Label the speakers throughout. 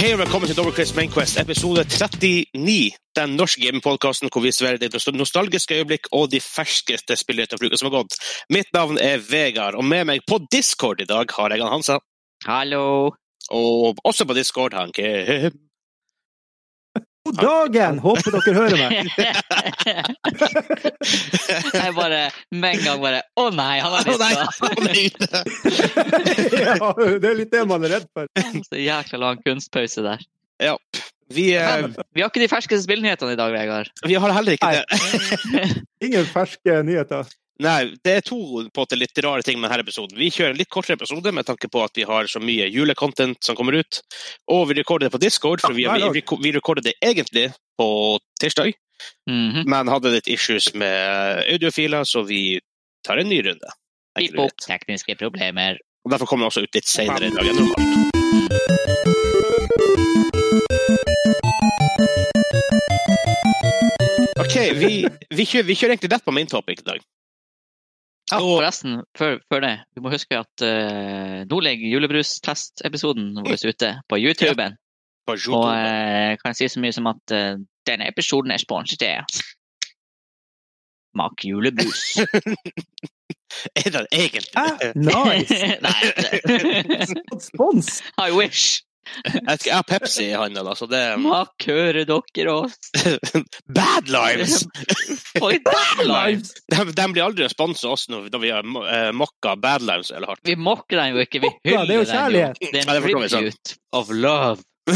Speaker 1: Hei og velkommen til Dovercrest Mainquest, episode 39. Den norske gamingpodkasten hvor vi sverger de nostalgiske øyeblikk og de ferskeste spillene av uka som har gått. Mitt navn er Vegard, og med meg på Discord i dag har jeg han Hansa.
Speaker 2: Hallo!
Speaker 1: Og også på Discord han Kim.
Speaker 3: God dagen! Håper dere hører meg.
Speaker 2: Jeg bare med en gang bare Å nei, han er
Speaker 1: Å nei,
Speaker 2: ute!
Speaker 1: han er ute!
Speaker 3: ja, det er litt det man er redd for.
Speaker 2: Så jækla lang kunstpause der.
Speaker 1: Vi, eh,
Speaker 2: Vi har ikke de ferskeste spillnyhetene i dag, Vegard.
Speaker 1: vi har heller ikke det.
Speaker 3: Ingen ferske nyheter.
Speaker 1: Nei, det er to på en måte litt rare ting med denne episoden. Vi kjører en litt kortere episode med tanke på at vi har så mye julecontent som kommer ut. Og vi rekorder det på Discord, for vi,
Speaker 3: Ja, hver dag.
Speaker 1: vi, vi rekorder det egentlig på tirsdag.
Speaker 2: Mhm.
Speaker 1: men hadde litt issues med audiofiler, så vi tar en ny runde.
Speaker 2: Pip opp tekniske problemer.
Speaker 1: Og Derfor kommer den også ut litt senere i dag enn normalt. OK, vi, vi, kjører, vi kjører egentlig rett på main topic i dag.
Speaker 2: Ja,
Speaker 1: Og-
Speaker 2: forresten, før, før det, du må huske at uh, nå ligger julebrustest-episoden vår ute på YouTuben.
Speaker 1: På YouTube.
Speaker 2: Og eh, kan jeg si så mye som at eh, denne episoden er sponset av Smak julebrus.
Speaker 1: er det egentlig
Speaker 2: Ah.
Speaker 3: Hæ? Ah, Nice!
Speaker 2: Nei, det-
Speaker 3: Spons!
Speaker 2: I wish!
Speaker 1: Jeg skal- jeg har Pepsi i handa, da, så det
Speaker 2: Smak, hører dere oss?
Speaker 1: Bad Lives!
Speaker 2: For et bad lives!
Speaker 1: De, de blir aldri en sponsor av oss når, når vi har eh, mokka Bad Lives eller hardt.
Speaker 2: Vi mokker den jo ikke, vi
Speaker 3: det er
Speaker 2: hyller
Speaker 3: jo
Speaker 2: den jo.
Speaker 3: kjærlighet.
Speaker 2: Det er
Speaker 1: Ja, det
Speaker 2: en
Speaker 1: forstår vi, sant.
Speaker 2: tribute of love.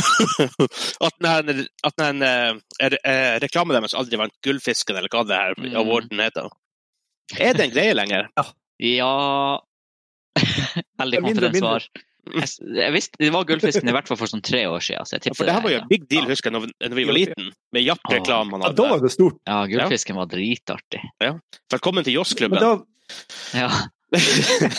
Speaker 1: at den, at den eh, re- eh, reklamen deres aldri vant Gullfisken, eller hva det her
Speaker 2: Mm.
Speaker 1: awarden heter. Er det en greie lenger?
Speaker 2: Ja Veldig
Speaker 3: Det er mindre og
Speaker 2: konfident
Speaker 3: mindre.
Speaker 2: svar. Jeg s- Jeg visste, det var gullfisken i hvert fall for sånn tre år siden. Så jeg
Speaker 1: For
Speaker 2: tipper
Speaker 1: det her var
Speaker 2: det
Speaker 1: jo en big deal, husker jeg, når vi- når vi var liten, med Japp-reklamen.
Speaker 3: Ja, da var det stort.
Speaker 2: Ja, gullfisken var dritartig.
Speaker 1: Velkommen til
Speaker 3: Men
Speaker 1: Joss-klubben.
Speaker 3: da,
Speaker 2: Ja.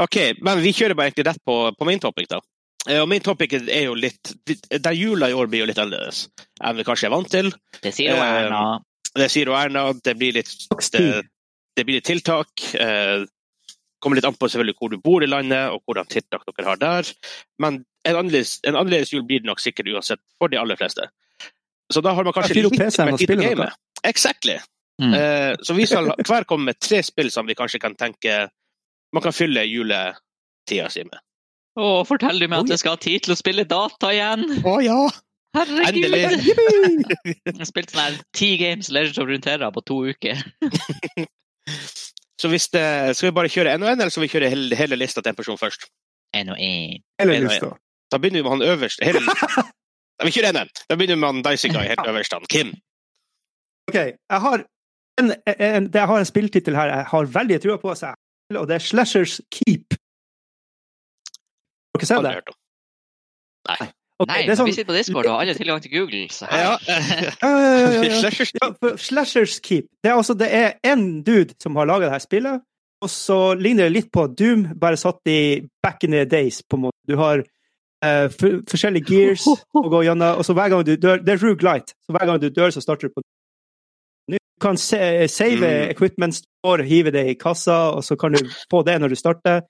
Speaker 1: OK, men vi kjører bare egentlig rett på, på main topic, da. Eh, Og main topic er jo litt Der jula i år blir jo litt annerledes enn vi kanskje er vant til.
Speaker 2: Det sier jo
Speaker 1: Eh,
Speaker 2: Erna.
Speaker 1: Det sier jo Erna, det blir litt det, det blir litt tiltak. Eh, kommer litt an på selvfølgelig hvor du bor i landet og hvordan tiltak dere har der. Men en annerledes, en annerledes jul blir det nok sikkert uansett for de aller fleste. Så da har man kanskje
Speaker 3: Ja, fyr opp PC-en og spille noe.
Speaker 1: Exactly.
Speaker 2: Mm.
Speaker 1: Eh, så vi skal hver komme med tre spill som vi kanskje kan tenke man kan fylle juletida si med.
Speaker 2: Å, fortell du meg at jeg skal ha tid til å spille data igjen!
Speaker 1: Å ja!
Speaker 2: Herregud!
Speaker 1: Endelig.
Speaker 3: Yippee!
Speaker 2: Jeg spilte sånn her ti games Legends of Runeterra på to uker.
Speaker 1: Så hvis det, skal vi bare kjøre en og en, eller skal vi kjøre hele, hele lista til en person først?
Speaker 2: En og en.
Speaker 3: Eller lyst til
Speaker 1: Da begynner vi med han øverst. Hele... Nei, vi kjører en. Da begynner vi med han Dicey Guy helt øverst. Han. Kim.
Speaker 3: OK, jeg har en, en, det jeg har en spilltittel her jeg har veldig trua på, så jeg, og det er Slashers Keep. Har dere
Speaker 1: Har
Speaker 3: sett
Speaker 1: du
Speaker 3: det?
Speaker 1: hørt om?
Speaker 3: Ok,
Speaker 2: Nei,
Speaker 3: det er sånn,
Speaker 2: vi sitter på Discord og har alle tilgang til Google. Så her.
Speaker 1: Ja.
Speaker 3: ja, ja, ja, ja, ja.
Speaker 1: Slashers.
Speaker 3: Ja, for Slashers Keep. Det er altså det er én dude som har laga det her spillet, og så ligner det litt på Doom, bare satt i back in the days, på en måte. Du har eh, for, forskjellige gears å gå gjennom, og så hver gang du dør Det er Rugelight, så hver gang du dør, så starter du på nytt. Du kan se, save
Speaker 1: Mm.
Speaker 3: equipment store, hive det i kassa, og så kan du få det når du starter.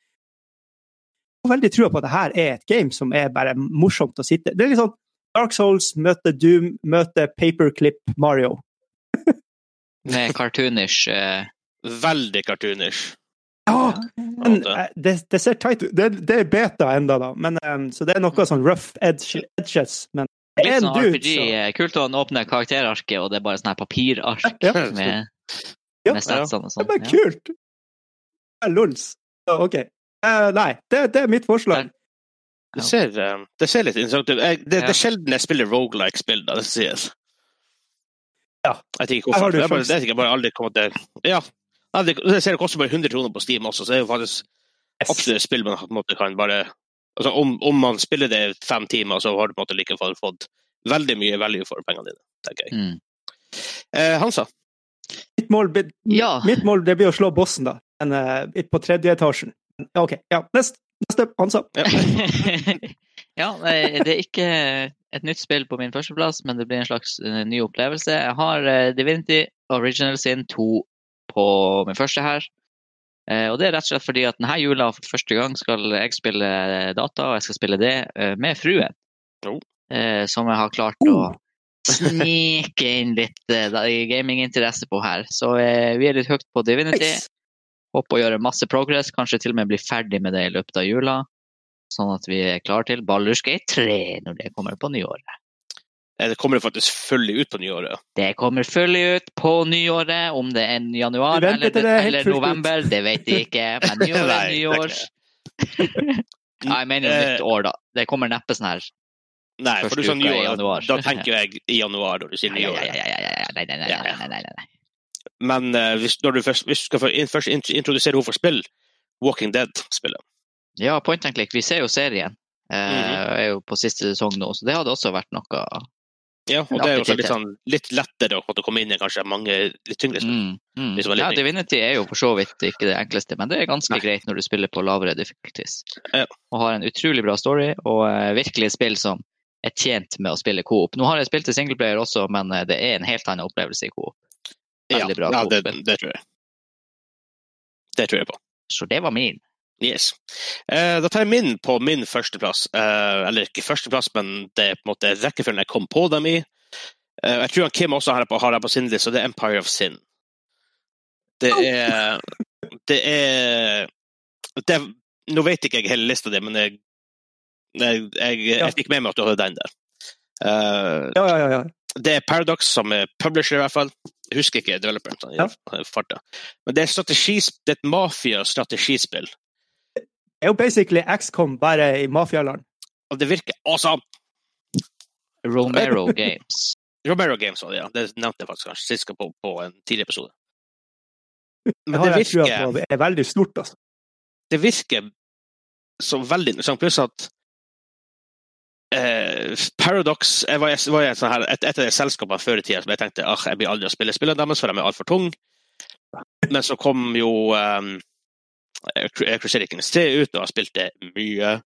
Speaker 3: Jeg har veldig trua på at det her er et game som er bare morsomt å sitte Det er litt sånn Dark Souls møter Doom møter Paperclip Mario.
Speaker 2: Med cartoonish eh,
Speaker 1: Veldig cartoonish.
Speaker 3: Ja!
Speaker 1: på en
Speaker 3: Men,
Speaker 1: måte.
Speaker 3: eh, det, det ser tight ut. Det, det er beta enda da. Men, em, så det er
Speaker 1: Mm.
Speaker 3: noe sånn rough edge, edges. Men det er
Speaker 2: Litt
Speaker 3: en
Speaker 2: sånn
Speaker 3: dude,
Speaker 2: RPG.
Speaker 3: så-
Speaker 2: eh, Kult å åpne karakterarket, og det er bare sånn her papirark
Speaker 3: Ja.
Speaker 2: med,
Speaker 3: Ja.
Speaker 2: med statsene og
Speaker 3: Det er
Speaker 2: sånn.
Speaker 3: bare kult! Det er lons. Så, OK. Eh, nei, det, det er mitt forslag.
Speaker 1: Det ser, eh, det ser litt interessant ut. Jeg- Det, det
Speaker 2: Ja.
Speaker 1: er sjelden jeg spiller rogelike spill, da. Det sies.
Speaker 3: Ja.
Speaker 1: Jeg tenker
Speaker 3: Her har
Speaker 1: hvorfor.
Speaker 3: du
Speaker 1: Det er bare,
Speaker 3: sjansen.
Speaker 1: det er sikkert bare aldri kommet til Ja. Nei, det, det ser det koster bare 100 kroner på Steam også, så det er jo faktisk
Speaker 3: Yes.
Speaker 1: absolutt et spill man på en måte kan bare Altså, om, om man spiller det i fem timer, så har du på en måte likevel fått veldig mye value for pengene dine, tenker jeg.
Speaker 2: Mm.
Speaker 1: Eh, Hansa?
Speaker 3: Mitt, mål, blir-
Speaker 2: Ja.
Speaker 1: Ah.
Speaker 3: mitt mål det blir å slå bossen, da. Men, eh, på tredje etasjen. Men, ja, OK. Ja, neste. Neste, Hansa.
Speaker 1: Ja.
Speaker 2: ja, eh, det er ikke et nytt spill på min førsteplass, men det blir en slags eh, ny opplevelse. Jeg har eh, Divinity Original Sin 2 på min første her. Eh, og det er rett og slett fordi at denne jula for første gang skal jeg spille data, og jeg skal spille det eh, med fruen.
Speaker 1: Jo.
Speaker 2: eh, som jeg har klart å snike inn litt eh, da- gaminginteresse på her. Så eh, vi er litt høyt på Divinity.
Speaker 3: Nice.
Speaker 2: Håper å gjøre masse progress, kanskje til og med bli ferdig med det i løpet av jula. Sånn at vi er klare til Baldur's Gate 3 når det kommer på nyåret.
Speaker 1: Eh, Det kommer faktisk følgelig ut på nyåret.
Speaker 2: Det kommer fullt ut på nyåret, om det er januar
Speaker 3: Du venter
Speaker 2: eller,
Speaker 3: til det er helt
Speaker 2: eller
Speaker 3: fullt ut.
Speaker 2: november, det vet jeg ikke. Men nyår er
Speaker 1: Nei, det er
Speaker 2: nyår.
Speaker 1: ikke
Speaker 2: Ja, jeg mener
Speaker 1: Eh,
Speaker 2: nytt år, da. Det kommer neppe sånn her.
Speaker 1: Nei, for
Speaker 2: Første
Speaker 1: du sa
Speaker 2: uka i
Speaker 1: nyår.
Speaker 2: januar.
Speaker 1: Da tenker jeg i januar, når du sier
Speaker 2: Nei, nei, nei,
Speaker 1: nyåret.
Speaker 2: nei, nei, nei, nei, nei, nei, nei, nei.
Speaker 1: Men eh, hvis, når du først, hvis du skal få inn- først int- introdusere henne for spill, Walking Dead-spillet.
Speaker 2: Ja, point and click. Vi ser jo serien. Eh,
Speaker 1: Mhm.
Speaker 2: og Er jo på siste sesong nå, så det hadde også vært noe
Speaker 1: Ja, og
Speaker 2: Ja,
Speaker 1: det er jo også
Speaker 2: det
Speaker 1: litt,
Speaker 2: er
Speaker 1: sånn, litt lettere å måtte komme inn i kanskje mange litt tyngre spill.
Speaker 2: mm, mm.
Speaker 1: Hvis det var litt
Speaker 2: Ja,
Speaker 1: nytt.
Speaker 2: Divinity er jo for så vidt ikke det enkleste, men det er ganske
Speaker 1: Nei.
Speaker 2: greit når du spiller på lavere difficulties.
Speaker 1: Ja.
Speaker 2: Og har en utrolig bra story, og eh, virkelig et spill som er tjent med å spille coop. Nå har jeg spilt i singleplayer også, men eh, det er en helt annen opplevelse i coop.
Speaker 1: Ja,
Speaker 2: Veldig bra
Speaker 1: ja det,
Speaker 2: coop-spill.
Speaker 1: det tror jeg. Det tror jeg på.
Speaker 2: Så det var min.
Speaker 1: Yes. Eh, da tar jeg min på min førsteplass. Eh, eller ikke førsteplass, men det er på en måte rekkefølgen jeg kom på dem i. Eh, jeg tror han Kim også har det på, har det på sin liste, og det er Empire of Sin. Det er Det er det, Nå vet ikke jeg hele lista di, men jeg, jeg, jeg, jeg fikk med meg at du hadde den der. Eh,
Speaker 3: Ja, ja, ja. ja.
Speaker 1: det er Paradox som er publisher, i hvert fall. Jeg husker ikke developeren. Sånn, i
Speaker 3: Ja.
Speaker 1: farta. Men det er, strategis, det er et mafia-strategispill.
Speaker 3: Det er jo basically XCOM bare i mafialand.
Speaker 1: Og det virker awesome!
Speaker 2: Romero Games.
Speaker 1: Romero Games var det, ja. Det nevnte jeg faktisk kanskje sist på, på en tidligere episode.
Speaker 3: Det
Speaker 1: Men
Speaker 3: har
Speaker 1: det
Speaker 3: jeg trua
Speaker 1: virker,
Speaker 3: på. Det er veldig stort, altså.
Speaker 1: det virker som veldig interessant. Pluss at eh, Paradox jeg var, jeg var i et, sånt her, et, et av de selskapene før i tida som jeg tenkte ah, jeg blir aldri å spille spillene deres, for de er altfor tunge. Men så kom jo um, Crusader Kings 3 ut, og jeg spilte mye.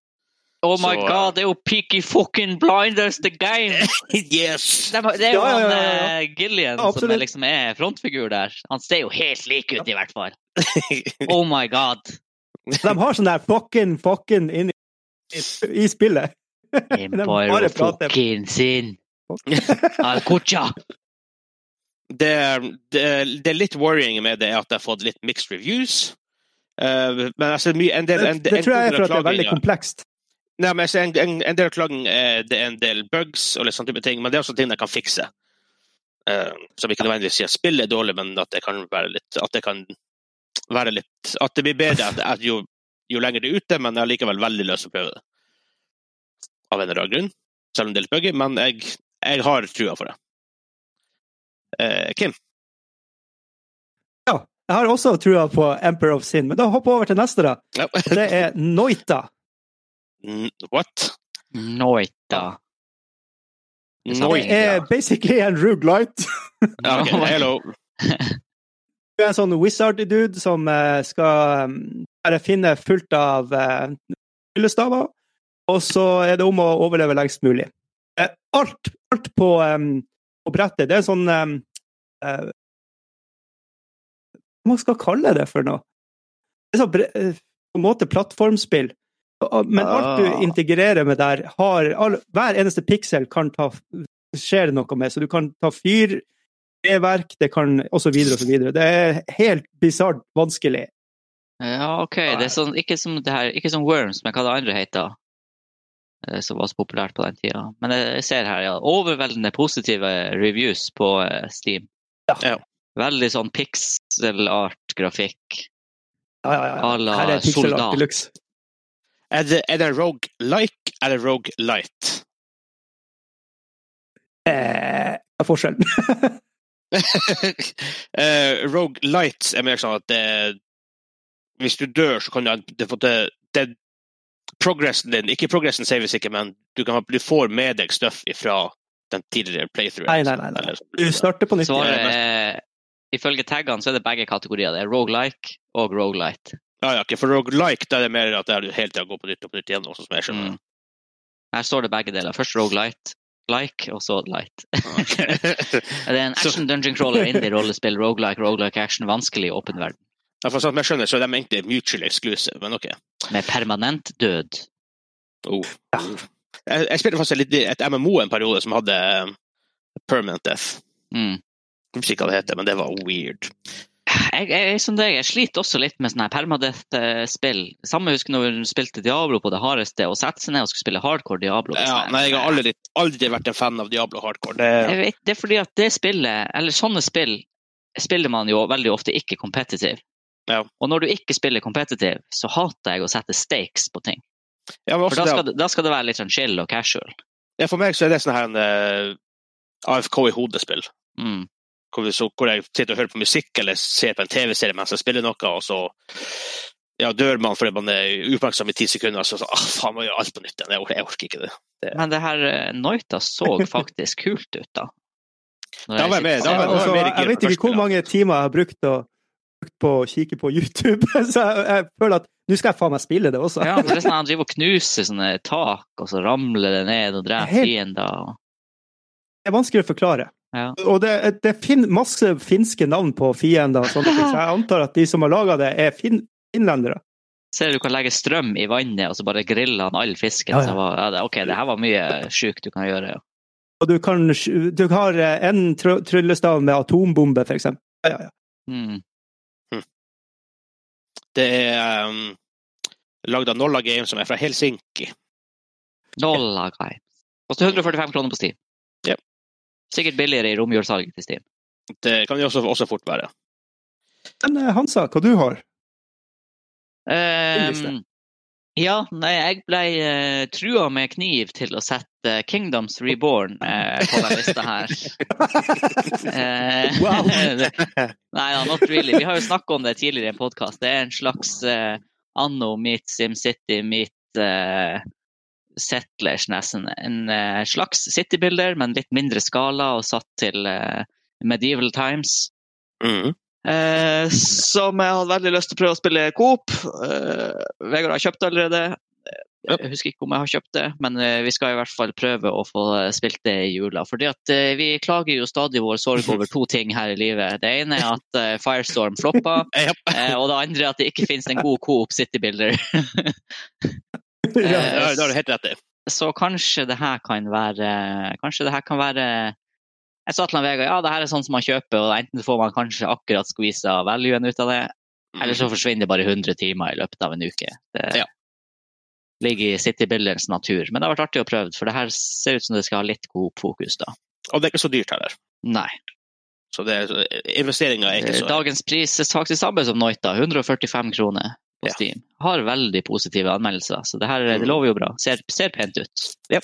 Speaker 2: Oh my
Speaker 1: Så, eh,
Speaker 2: god, det er jo Peaky fucking Blinders the game!
Speaker 1: Yes!
Speaker 2: Det er- det er jo
Speaker 3: Ja, ja, ja, ja, ja.
Speaker 2: han eh, Gillian
Speaker 3: Ja,
Speaker 2: som er,
Speaker 3: absolutt.
Speaker 2: liksom er frontfigur der. Han ser jo helt lik ut, i hvert fall. Oh my god.
Speaker 3: De har sånn der fucking, fucking inn i, i spillet.
Speaker 2: Empire
Speaker 3: bare
Speaker 2: of
Speaker 3: prater.
Speaker 2: fucking sin. Al-Kucha.
Speaker 1: det, det, det er litt worrying med det at jeg har fått litt mixed reviews. Eh, men jeg ser mye, en del,
Speaker 3: Det,
Speaker 1: en, en,
Speaker 3: det tror jeg er for at det er veldig
Speaker 1: klaginger-
Speaker 3: komplekst.
Speaker 1: Nei, men jeg ser en, en, en del klagen er det er en del bugs og litt sånne type ting, men det er også ting jeg kan fikse. Eh, som ikke nødvendigvis sier at spillet er dårlig, men at det kan være litt At det kan være litt At det blir bedre at, at jo, jo lenger det er ute, men jeg har likevel veldig lyst til å prøve det. Av en eller annen grunn. Selv om det er litt buggy, men jeg, jeg har trua for det. Eh, Kim?
Speaker 3: Ja. Jeg har også trua på Emperor of Sin, men da hopper jeg over til neste, da.
Speaker 1: Ja.
Speaker 3: Det er Noita.
Speaker 1: N- What?
Speaker 2: Noita. Det er sant.
Speaker 1: Noi?
Speaker 3: Det er basically en Rugelight.
Speaker 1: Ja, ok,
Speaker 3: Oh
Speaker 1: hello.
Speaker 3: Du er en sånn wizard-dude som eh, skal um, bare finne fullt av eh, hyllestaver, og så er det om å overleve lengst mulig. Eh, alt, alt på, em, på brettet, det er en sånn em, eh, Hva man skal kalle det for noe? Det er sånn bre- eh, på en måte plattformspill. Og- Men alt
Speaker 2: Ah.
Speaker 3: du integrerer med der, har all, hver eneste piksel kan ta skjer det noe med, så du kan ta fyr treverk, det kan og så videre og så videre. Det er helt bisart vanskelig.
Speaker 2: Ja, OK. Det er sånn, ikke, som det her, ikke som Worms, men hva det andre heter. eh, Som var så populært på den tida. Men jeg jeg ser her, ja. Overveldende positive reviews på eh, Steam.
Speaker 3: Ja.
Speaker 1: Ja.
Speaker 2: Veldig sånn pixel-art-grafikk.
Speaker 3: Ja, ja, ja.
Speaker 2: À la
Speaker 3: Her er pixel
Speaker 2: soldat.
Speaker 3: art deluxe.
Speaker 1: Er det, er det en rogue-like eller rogue-light?
Speaker 3: Eh, hva er forskjellen?
Speaker 1: Eh, rogue-light er mer sånn at det, hvis du dør, så kan du det, det, det, Progressen din Ikke progressen saves ikke, men du, kan, du får med deg stuff ifra den tidligere playthroughen. liksom.
Speaker 3: Nei, nei, nei, nei.
Speaker 1: Eller- sånn.
Speaker 3: Du starter på nytt.
Speaker 2: Svaret
Speaker 1: Ja,
Speaker 2: er Ifølge taggene så er det begge kategorier. Det er rogelike og rogelite.
Speaker 1: Ja, ja, ok, for rogue-like da er det mer at det er du hele tida går på nytt og på nytt igjen. Også, som jeg skjønner.
Speaker 2: Mm. Her står det begge deler. Først rogelite, like, og så light.
Speaker 3: Mm.
Speaker 2: Det er en
Speaker 1: Så-
Speaker 2: action dungeon crawler indie rollespill, rogelike, rogelike action, vanskelig i åpen verden.
Speaker 1: Ja, for sånn som jeg skjønner, så er de egentlig mutually exclusive, men OK.
Speaker 2: Med permanent død.
Speaker 1: Oh.
Speaker 3: Ja.
Speaker 1: Jeg, jeg spilte faktisk litt, et MMO en periode som hadde eh, permanent death.
Speaker 2: Mm.
Speaker 1: Jeg husker ikke hva det heter, men det var weird.
Speaker 2: Jeg, jeg, jeg, som deg, jeg sliter også litt med sånne her permadeath-spill. Samme husker når vi spilte Diablo på det hardeste, og satte seg ned og skulle spille hardcore Diablo.
Speaker 1: Ja, nei, jeg har aldri, aldri vært en fan av Diablo hardcore.
Speaker 2: Jeg
Speaker 1: Det,
Speaker 2: vet, det er fordi at det spillet, eller sånne spill, spiller man jo veldig ofte ikke competitive.
Speaker 1: Ja.
Speaker 2: Og når du ikke spiller competitive, så hater jeg å sette stakes på ting.
Speaker 1: ja, men
Speaker 2: For
Speaker 1: også
Speaker 2: da
Speaker 1: det,
Speaker 2: skal, det- da skal det være litt sånn chill og casual.
Speaker 1: ja, for meg så er det sånn her en eh, AFK i hodespill.
Speaker 2: Mm.
Speaker 1: Hvor, vi så, hvor jeg sitter og hører på musikk eller ser på en TV-serie mens jeg spiller noe, og så ja, dør man fordi man er uoppmerksom i ti sekunder. Så, så ah, faen, må jeg gjøre alt på nytt igjen. Jeg, orker- jeg orker ikke det.
Speaker 2: Men det her eh, Noita så faktisk kult ut, da. Når
Speaker 1: Da var jeg med, da
Speaker 2: sitter og ser
Speaker 1: var jeg
Speaker 2: på det.
Speaker 3: Altså,
Speaker 1: mer
Speaker 3: jeg
Speaker 1: gira
Speaker 3: vet
Speaker 1: på
Speaker 3: ikke hvor
Speaker 1: første, da.
Speaker 3: mange timer jeg har brukt, å, brukt på å kikke på YouTube, så jeg, jeg føler at nå skal jeg faen meg spille det også.
Speaker 2: Ja, for det er sånn Han driver og knuser sånne tak, og så ramler det ned og dreper
Speaker 3: Helt-
Speaker 2: fiender. og-
Speaker 3: Det er vanskelig å forklare.
Speaker 2: Ja.
Speaker 3: Og det, det er fin, masse finske navn på fiender og sånne ting, så jeg antar at de som har laga det, er fin, finlendere.
Speaker 2: Ser du kan legge strøm i vannet, og så bare griller han all fisken.
Speaker 3: Ja, ja.
Speaker 2: Så var, ja, det- OK, det her var mye sjukt du kan gjøre. Ja.
Speaker 3: Og du, kan, sj- du har eh, en tr tryllestav med atombombe, for eksempel. Ja, ja, ja.
Speaker 2: Mm.
Speaker 1: Det er um, lagd av Nolla Game, som er fra Helsinki.
Speaker 2: Nolla guy. Koster 145 kroner på Steam.
Speaker 1: Ja.
Speaker 2: Sikkert billigere i romjulssalget til Steam.
Speaker 1: Det kan jo også, også fort være.
Speaker 3: Men eh, Hansa, hva du har?
Speaker 2: Ehm,
Speaker 3: Billigste.
Speaker 2: ja, nei, jeg ble eh, trua med kniv til å sette eh, Kingdoms Reborn eh, på den lista her. Eh,
Speaker 3: Wow.
Speaker 2: Nei da, not really. Vi har jo snakka om det tidligere i en podkast. Det er en slags eh, anno meet SimCity meet eh, Settlers, nesten. En eh, slags citybuilder, men litt mindre skala og satt til eh, medieval times.
Speaker 1: Mhm.
Speaker 2: Eh, som jeg hadde veldig lyst til å prøve å spille Coop. Eh, Vegard har kjøpt det allerede.
Speaker 1: Ja.
Speaker 2: Jeg husker ikke om jeg har kjøpt det, men eh, vi skal i hvert fall prøve å få eh, spilt det i jula. Fordi at eh, vi klager jo stadig vår sorg over to ting her i livet. Det ene er at eh, Firestorm floppa,
Speaker 1: Ja.
Speaker 2: eh, og det andre er at det ikke finnes en god Coop City Builder. Eh,
Speaker 1: Ja, det har du helt rett i.
Speaker 2: Så kanskje det her kan være Kanskje det her kan være Jeg sa til han Vegard ja, det her er sånn som man kjøper, og enten får man kanskje akkurat skvisa valuen ut av det,
Speaker 1: Mm.
Speaker 2: eller så forsvinner det bare 100 timer i løpet av en uke. Det
Speaker 1: Ja.
Speaker 2: ligger i citybilderens natur. Men det har vært artig å prøve, for det her ser ut som det skal ha litt god fokus, da.
Speaker 1: Og det er ikke så dyrt heller.
Speaker 2: Nei.
Speaker 1: Så det er, investeringer er ikke så
Speaker 2: Eh, Dagens pris er faktisk samme som Noita, 145 kroner på
Speaker 1: Ja.
Speaker 2: Steam. Har veldig positive anmeldelser, så det her eh, det
Speaker 1: Mm.
Speaker 2: lover jo bra. Ser, ser pent ut.
Speaker 1: Det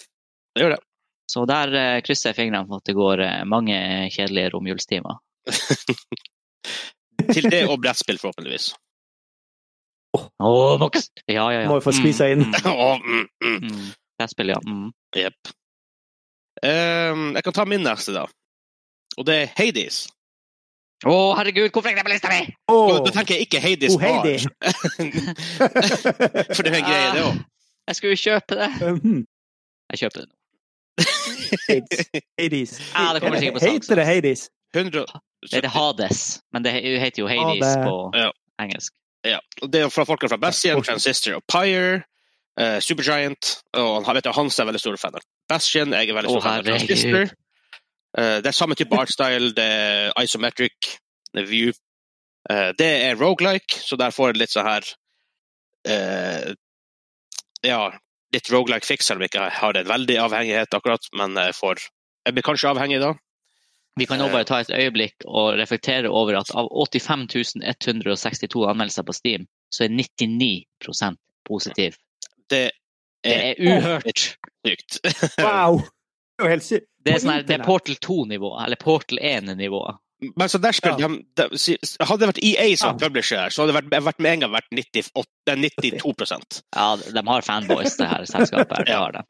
Speaker 1: gjør det.
Speaker 2: Så der eh, krysser jeg fingrene for at det går eh, mange kjedelige romjulstimer.
Speaker 1: Til det og brettspill, forhåpentligvis.
Speaker 2: Åh, Max! Ja, ja, ja.
Speaker 3: Må jo få skvisa inn.
Speaker 2: Mm,
Speaker 1: Å, mm, mm.
Speaker 2: mm, mm. Brettspill, ja. Mm.
Speaker 1: Jepp. Ehm, jeg kan ta min neste, da. Og det er Hades.
Speaker 2: Å, herregud, hvorfor er det på lista mi?!
Speaker 1: Og
Speaker 3: Åh,
Speaker 1: Da tenker jeg ikke Hades
Speaker 3: oh, Heidi!
Speaker 1: for det er en greie, det
Speaker 2: Ah.
Speaker 1: òg.
Speaker 2: Eh, Jeg skulle jo kjøpe det.
Speaker 3: Mhm.
Speaker 2: Jeg kjøper det nå.
Speaker 3: Hades. Hades.
Speaker 2: Ja, det kommer sikkert på salg
Speaker 3: Heter det Hades?
Speaker 1: 100
Speaker 2: Det heter Hades, men det he- heter jo Hades
Speaker 3: Hades.
Speaker 2: på
Speaker 1: Ja.
Speaker 2: engelsk.
Speaker 1: Ja, og det er fra folkene fra Bastion, Transistor og Pyre, eh, Supergiant, og han, vet du, Hans er veldig stor fan av Bastion, jeg er veldig stor
Speaker 2: Å,
Speaker 1: fan av
Speaker 2: herregud.
Speaker 1: Transistor. Eh, det er samme type artstyle, det er isometric, det er view. Eh, det er roguelike, så der får en litt sånn her eh, Ja, litt roguelike fix, selv om jeg ikke har en veldig avhengighet akkurat, men jeg får Jeg blir kanskje avhengig da.
Speaker 2: Vi kan nå bare ta et øyeblikk og reflektere over at av 85 162 anmeldelser på Steam, så er 99 positiv.
Speaker 1: Det
Speaker 2: Det
Speaker 1: er
Speaker 2: er uhørt!
Speaker 1: sykt.
Speaker 3: Wow! Det er jo helt sykt.
Speaker 2: Det
Speaker 3: På
Speaker 2: er, sånn her, det er
Speaker 3: internett.
Speaker 2: Portal 2-nivå, eller Portal 1-nivå.
Speaker 1: Men så der spiller
Speaker 3: Ja.
Speaker 1: de, de, si- Hadde det vært EA som
Speaker 3: Ja.
Speaker 1: publisher her, så hadde det vært, vært med en gang vært 98, eh, 92
Speaker 2: Ja, de har fanboys, det her selskapet. her, det
Speaker 1: Ja.
Speaker 2: har de.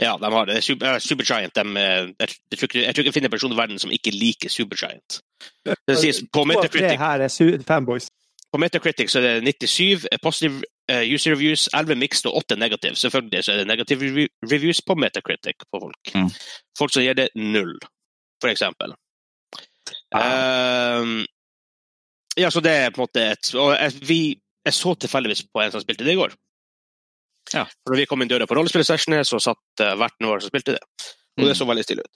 Speaker 1: Ja, de har det. Super, eh, Supergiant de, eh, jeg, jeg, tror ikke, jeg tror ikke jeg finner en person i verden som ikke liker Supergiant. Det sies, på,
Speaker 3: To av Eh, tre
Speaker 1: Metacritic,
Speaker 3: her er su- fanboys.
Speaker 1: på Metacritic så er det 97 positive eh, user reviews, 11 mixed og 8 negative. Selvfølgelig så er det negative review, reviews på Metacritic på folk.
Speaker 2: Mm.
Speaker 1: Folk som gir det null, for eksempel.
Speaker 2: Ja.
Speaker 1: Ehm, ja, så det er på en måte et og jeg, vi, jeg så tilfeldigvis på en som spilte det i går.
Speaker 2: Ja.
Speaker 1: For når vi kom inn døra på rollespillsessionet, så satt eh, verten vår som spilte det. Og
Speaker 3: Mm.
Speaker 1: det så veldig stille ut.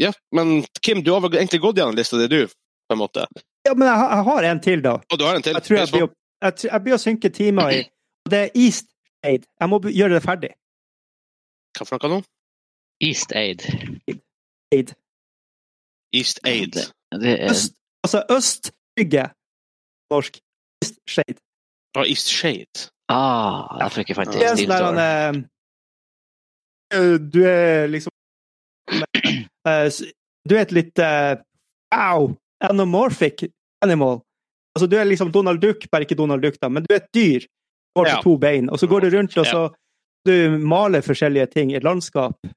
Speaker 1: Ja, men Kim, du har vel egentlig gått gjennom lista di, du, på en måte.
Speaker 3: Ja, men jeg, har- jeg har en til, da.
Speaker 1: Og du har en til?
Speaker 3: Jeg tror
Speaker 1: Det
Speaker 3: jeg
Speaker 1: er
Speaker 3: blir å, jeg, tr- jeg blir å synke timer i. Og det er East Aid. Jeg må be- gjøre det ferdig.
Speaker 1: Hva for noe nå?
Speaker 2: East Aid.
Speaker 3: Aid.
Speaker 1: East Aid.
Speaker 2: Det er,
Speaker 3: Øst, altså øst bygge. Norsk. East Shade.
Speaker 1: Og East Shade.
Speaker 2: ah, derfor ikke fant
Speaker 3: Det er
Speaker 2: jeg
Speaker 3: en
Speaker 2: Steel
Speaker 3: sånn
Speaker 2: Door.
Speaker 3: der han, eh, Du er liksom eh, s- Du er et litt eh, Au! Anomorphic animal. Altså, du er liksom Donald Duck, bare ikke Donald Duck, da, men du er et dyr. Går på
Speaker 1: Ja.
Speaker 3: to bein, og så går du rundt og så du maler forskjellige ting i et landskap. Eh,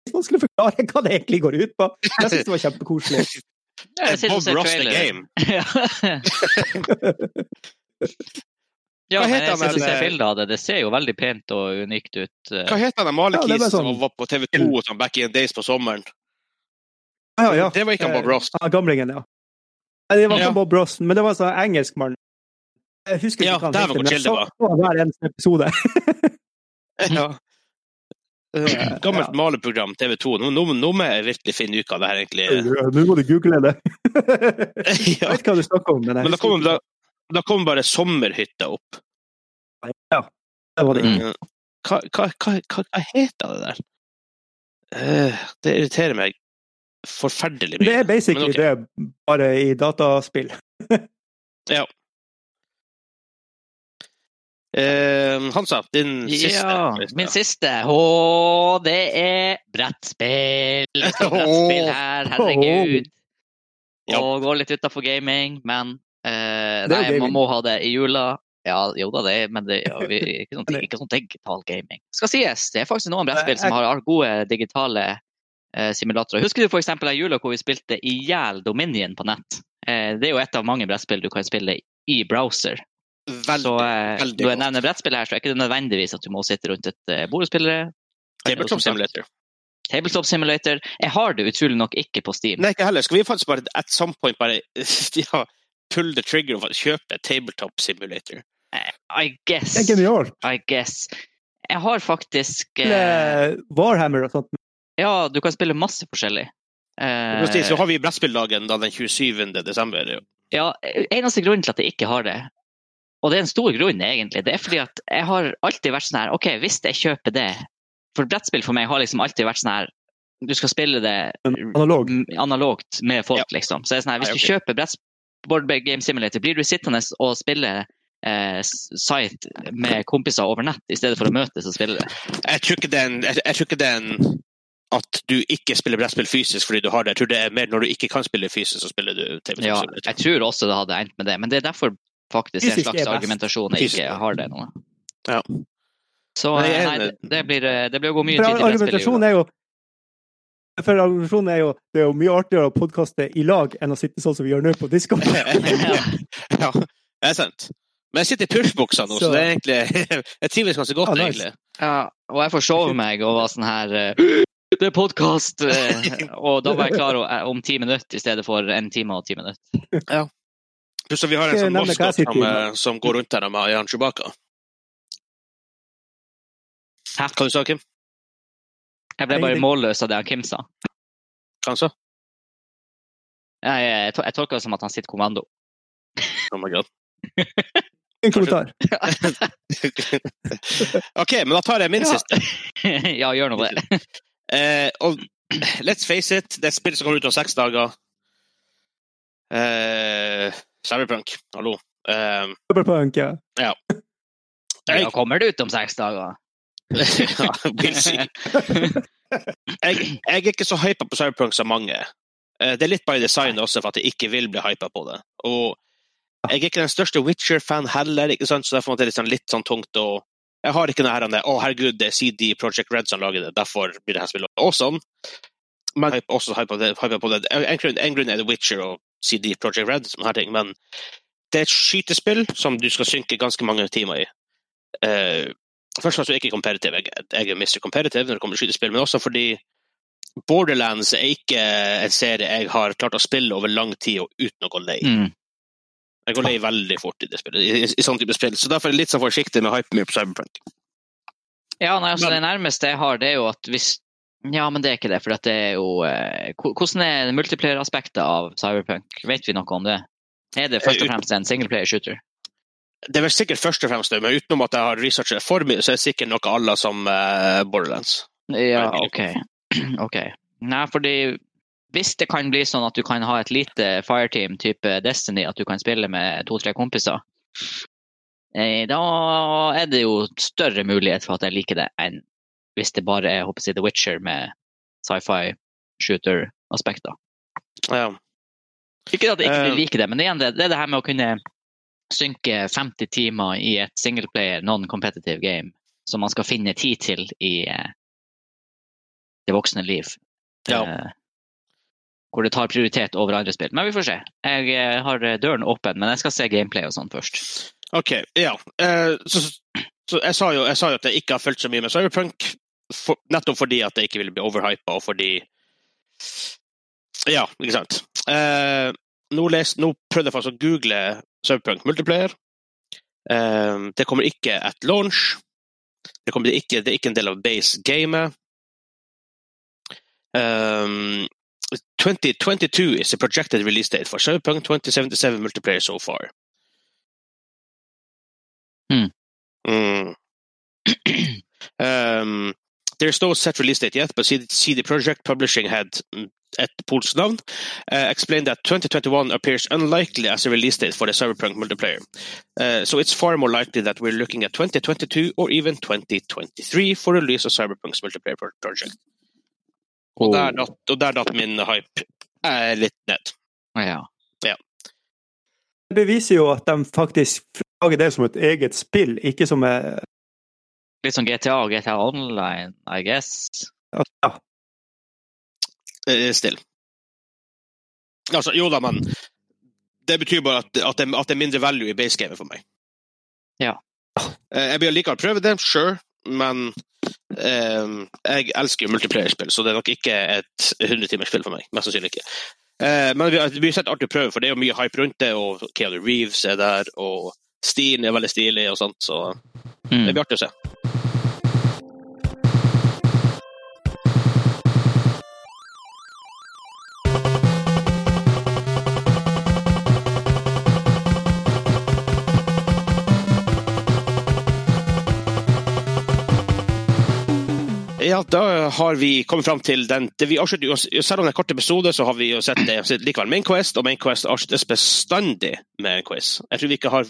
Speaker 3: det er vanskelig å forklare hva det egentlig går ut på. Jeg syns det var kjempekoselig.
Speaker 2: Ja, jeg sitter og
Speaker 1: Bob
Speaker 2: ser
Speaker 1: Ross the
Speaker 2: traileren.
Speaker 1: Game.
Speaker 2: Ja. Ja,
Speaker 1: Hva
Speaker 2: men
Speaker 1: heter
Speaker 2: jeg
Speaker 1: han,
Speaker 2: sitter og
Speaker 1: den,
Speaker 2: ser
Speaker 1: eh,
Speaker 2: bilder av det. Det ser jo veldig pent og unikt ut. eh.
Speaker 1: Hva het han
Speaker 3: Ja, det er
Speaker 1: malerkisen
Speaker 3: bare sånn.
Speaker 1: som var på TV 2 og sånn back in the days på sommeren?
Speaker 3: Ja, ja. Eh,
Speaker 1: Det var ikke han Bob Ross.
Speaker 3: Ja, Ah, gamlingen, ja. Nei, det var ikke
Speaker 1: Ja.
Speaker 3: Bob Ross, men det var sånn engelsk mann. Jeg husker
Speaker 1: Ja,
Speaker 3: ikke hva han
Speaker 1: der var
Speaker 3: heter,
Speaker 1: hvor
Speaker 3: men jeg
Speaker 1: chill det
Speaker 3: så
Speaker 1: var.
Speaker 3: så han hver eneste episode.
Speaker 1: Ja. Eh, Gammelt malerprogram TV 2. Nå, nå, nå må jeg virkelig finne ut hva det her egentlig er.
Speaker 3: Nå må du google det. Jeg
Speaker 1: ja.
Speaker 3: vet hva du snakker om, men
Speaker 1: Men
Speaker 3: jeg
Speaker 1: da
Speaker 3: husker
Speaker 1: kom,
Speaker 3: ikke.
Speaker 1: da, da kom bare sommerhytta opp.
Speaker 3: Det var det.
Speaker 2: Mm.
Speaker 1: Eh, Hva, hva, hva, hva, hva heter det der? Eh, det irriterer meg forferdelig mye.
Speaker 3: Det er basically
Speaker 1: Mm. Men ok.
Speaker 3: det, bare i dataspill.
Speaker 1: Eh, Hansa, din siste.
Speaker 2: Ja,
Speaker 1: liste.
Speaker 2: min siste. Å, det er brettspill! Det står brettspill her, herregud.
Speaker 1: Ja.
Speaker 2: Og går litt utafor gaming, men eh,
Speaker 3: Det er jo
Speaker 2: Nei, man
Speaker 3: gaming.
Speaker 2: må ha det i jula. Ja, jo da, det er, men det er ikke sånn, ikke sånn digital gaming. Skal sies, det er faktisk noen
Speaker 1: Eh,
Speaker 2: brettspill som har gode digitale eh, simulatorer. Husker du for eksempel den jula hvor vi spilte i hjel Dominion på nett? Eh, det er jo et av mange brettspill du kan spille i browser.
Speaker 1: Veldig,
Speaker 2: Så eh,
Speaker 1: veldig
Speaker 2: når
Speaker 1: godt.
Speaker 2: jeg nevner brettspill her, så er ikke det nødvendigvis at du må sitte rundt et eh, bord og spille
Speaker 1: Tabletop Simulator.
Speaker 2: Tabletop Simulator. Jeg har det utrolig nok ikke på Steam.
Speaker 1: Nei, ikke heller. Skal vi faktisk bare at some point bare ja, pull the trigger og faktisk kjøpe Tabletop Simulator?
Speaker 2: I guess.
Speaker 3: Det er genialt.
Speaker 2: I guess. Jeg har faktisk eh,
Speaker 3: Eh, Warhammer og sånt.
Speaker 2: Ja, du kan spille masse forskjellig. Eh,
Speaker 1: Og Så har vi brettspilldagen da den 27. desember. jo.
Speaker 2: ja, eneste grunnen til at jeg ikke har det, og det er en stor grunn egentlig, det er fordi at jeg har alltid vært sånn her OK, hvis jeg kjøper det For brettspill for meg har liksom alltid vært sånn her Du skal spille
Speaker 3: men
Speaker 2: det
Speaker 3: Analog.
Speaker 2: m- analogt med folk, liksom. Så det er sånn her, hvis
Speaker 1: Nei,
Speaker 2: du kjøper bretts- board Game Simulator, blir du sittende og spille eh, s- site med kompiser over nett i stedet for å møtes og spille det.
Speaker 1: Jeg tror ikke det er en- jeg, jeg tror ikke det er en at du ikke spiller brettspill fysisk fordi du har det. Jeg tror det er mer når du ikke kan spille fysisk, så spiller du Tabletop
Speaker 2: Ja,
Speaker 1: Simulator.
Speaker 2: jeg tror også det hadde endt med det, men det er derfor faktisk en
Speaker 3: Fysisk er
Speaker 2: slags
Speaker 3: best.
Speaker 2: argumentasjon jeg ikke
Speaker 1: Fysisk.
Speaker 2: har det nå.
Speaker 1: Ja.
Speaker 2: Så
Speaker 1: Nei,
Speaker 2: eh,
Speaker 1: jeg er
Speaker 2: nei, det,
Speaker 1: enig.
Speaker 2: det blir eh, det blir å gå mye
Speaker 3: For
Speaker 2: tid i brettspill.
Speaker 3: argumentasjonen er jo for argumentasjonen er jo det er jo mye artigere å podkaste i lag enn å sitte sånn som vi gjør nå på Discord.
Speaker 1: ja, det er sant. Men jeg sitter i pulsbuksa nå, så,
Speaker 3: Så-
Speaker 1: det er egentlig Jeg trives ganske godt,
Speaker 3: Ah, nice.
Speaker 1: egentlig.
Speaker 2: Ja, og jeg forsov meg og var sånn her eh, Det er podkast! Og da var jeg klar o- eh, om ti minutter i stedet for en time og ti minutter.
Speaker 1: Plutselig vi har en
Speaker 3: Skal jeg
Speaker 1: sånn
Speaker 3: nevne hva
Speaker 1: maskot
Speaker 3: jeg sitter i
Speaker 1: som,
Speaker 3: nå?
Speaker 1: eh, som går rundt her med Jan Chewbacca.
Speaker 2: Hæ?
Speaker 1: Hva du sa Kim?
Speaker 2: Jeg ble bare
Speaker 3: Ingenting.
Speaker 2: målløs av det han Kim sa.
Speaker 1: Hva han sa?
Speaker 2: Jeg, jeg, to- jeg tolka det som at han sitter kommando.
Speaker 1: Oh my god.
Speaker 3: Ingen kommentar.
Speaker 1: OK, men da tar jeg min
Speaker 2: Ja.
Speaker 1: siste.
Speaker 2: ja, gjør nå det.
Speaker 1: Eh, og let's face it, det er et spill som kommer ut om seks dager. Eh, Cyberpunk, hallo. Eh,
Speaker 3: Cyberpunk, ja.
Speaker 2: Da
Speaker 1: jeg,
Speaker 2: kommer det ut om seks dager.
Speaker 1: ja, we'll see. jeg, jeg er ikke så hypa på Cyberpunk som mange. Eh, Det er litt by design også, for at jeg ikke vil bli hypa på det. Og jeg er ikke den største Witcher-fan heller, ikke sant? så derfor er det litt sånn, litt sånn tungt å Jeg har ikke noe her om det. Å, herregud, det er CD Project Red som lager det, derfor blir det her spillet sånn, awesome. Men jeg er også hypa det- hypa på det. En grunn, en grunn er The Witcher og CD Project Red, sånne her ting, men det er et skytespill som du skal synke ganske mange timer i. Eh, først og fremst er jeg ikke competitive, jeg, jeg er Mr. Competitive når det kommer til skytespill, men også fordi Borderlands er ikke en serie jeg har klart å spille over lang tid og uten å gå lei.
Speaker 2: Mm.
Speaker 1: Jeg går lei veldig fort i, det spillet, i, i, i sånn type spill, så derfor er jeg litt sånn forsiktig med å hype mye på Cyberpunk.
Speaker 2: Ja, nei, altså
Speaker 1: Men-
Speaker 2: Det nærmeste jeg har, det er jo at hvis Ja, men det er ikke det. For at det er jo eh, ko- Hvordan er multiplayer-aspektet av Cyberpunk? Vet vi noe om det? Er det først og
Speaker 1: Eh,
Speaker 2: fremst en singleplayer-shooter?
Speaker 1: Det er vel sikkert først og fremst det, men utenom at jeg har researchet det for mye, så er det sikkert noe à la som eh, Borderlands.
Speaker 2: Ja,
Speaker 1: Nei,
Speaker 2: OK. ok. Nei, fordi hvis det kan bli sånn at du kan ha et lite fireteam type Destiny, at du kan spille med to-tre kompiser, eh, da er det jo større mulighet for at jeg liker det enn hvis det bare er håper jeg, å si, The Witcher med sci-fi shooter-aspekter.
Speaker 1: Ja.
Speaker 2: Ikke at jeg ikke
Speaker 1: Eh,
Speaker 2: vil like det, men igjen, det, det er det her med å kunne synke 50 timer i et singleplayer, non-competitive game, som man skal finne tid til i eh, det voksne liv.
Speaker 1: Ja.
Speaker 2: Eh, hvor det tar prioritet over andre spill. Men vi får se. Jeg eh, har eh, døren åpen, men jeg skal se gameplay og sånn først.
Speaker 1: OK. Ja. Eh, så, så jeg, sa jo, jeg sa jo at jeg ikke har fulgt så mye med Cyberpunk, for, nettopp fordi at jeg ikke ville bli overhypa, og fordi Ja, ikke sant. Eh, nå, les, nå prøvde jeg faktisk å google Cyberpunk multiplayer. Eh, det kommer ikke at launch. Det, kommer ikke, det er ikke en del av base-gamet. Um, 2022 is the projected release date for Cyberpunk 2077 multiplayer so far.
Speaker 2: Hmm.
Speaker 1: Mm. um, there's no set release date yet, but CD, CD Projekt Publishing had mm, et polsk navn, uh, explained that 2021 appears unlikely as a release date for the Cyberpunk multiplayer. Uh, so it's far more likely that we're looking at 2022 or even 2023 for release of Cyberpunk's multiplayer pro- project.
Speaker 2: Oh.
Speaker 1: Og der datt, og der datt min hype eh, litt ned.
Speaker 2: Ja.
Speaker 3: Det beviser jo at de faktisk lager det som et eget spill, ikke som eh,
Speaker 2: Litt sånn som GTA og GTA Online, I guess.
Speaker 3: at- ja.
Speaker 1: Eh, still. Altså, jo da, men det betyr bare at, at, det, at det er mindre value i basegamet for meg.
Speaker 2: Ja.
Speaker 1: Eh, Jeg vil likevel prøve det, sure, men eh, jeg elsker jo multiplayerspill, så det er nok ikke et 100-timersspill for meg. Mest sannsynlig ikke. Eh, men vi har vi har sett artig prøve, for det er jo mye hype rundt det, og Keanu Reeves er der, og Steen er veldig stilig og sånt, så
Speaker 2: Mm.
Speaker 1: det blir artig å se. Ja, da har vi kommet fram til den det vi avslutter, jo- Selv om det er kort episode, så har vi jo sett det sett likevel Main Quest, og Main Quest avsluttes bestandig med en quiz. Jeg tror vi ikke har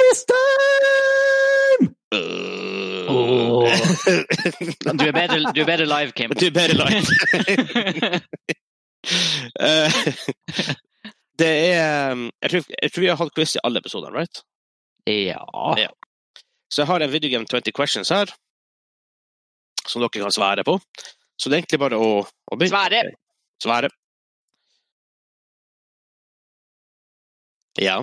Speaker 3: It's time!
Speaker 1: Øh.
Speaker 2: Åh. Du er bedre, du er bedre live, Kim.
Speaker 1: Du er bedre live. Eh, det er um, jeg tror, jeg tror vi har hatt quiz i alle episodene, right?
Speaker 2: ja.
Speaker 1: Så jeg har en Video Game 20 Questions her, som dere kan svare på. Så det er egentlig bare å, å begynne.
Speaker 2: Sverre!
Speaker 1: Svare. Ja.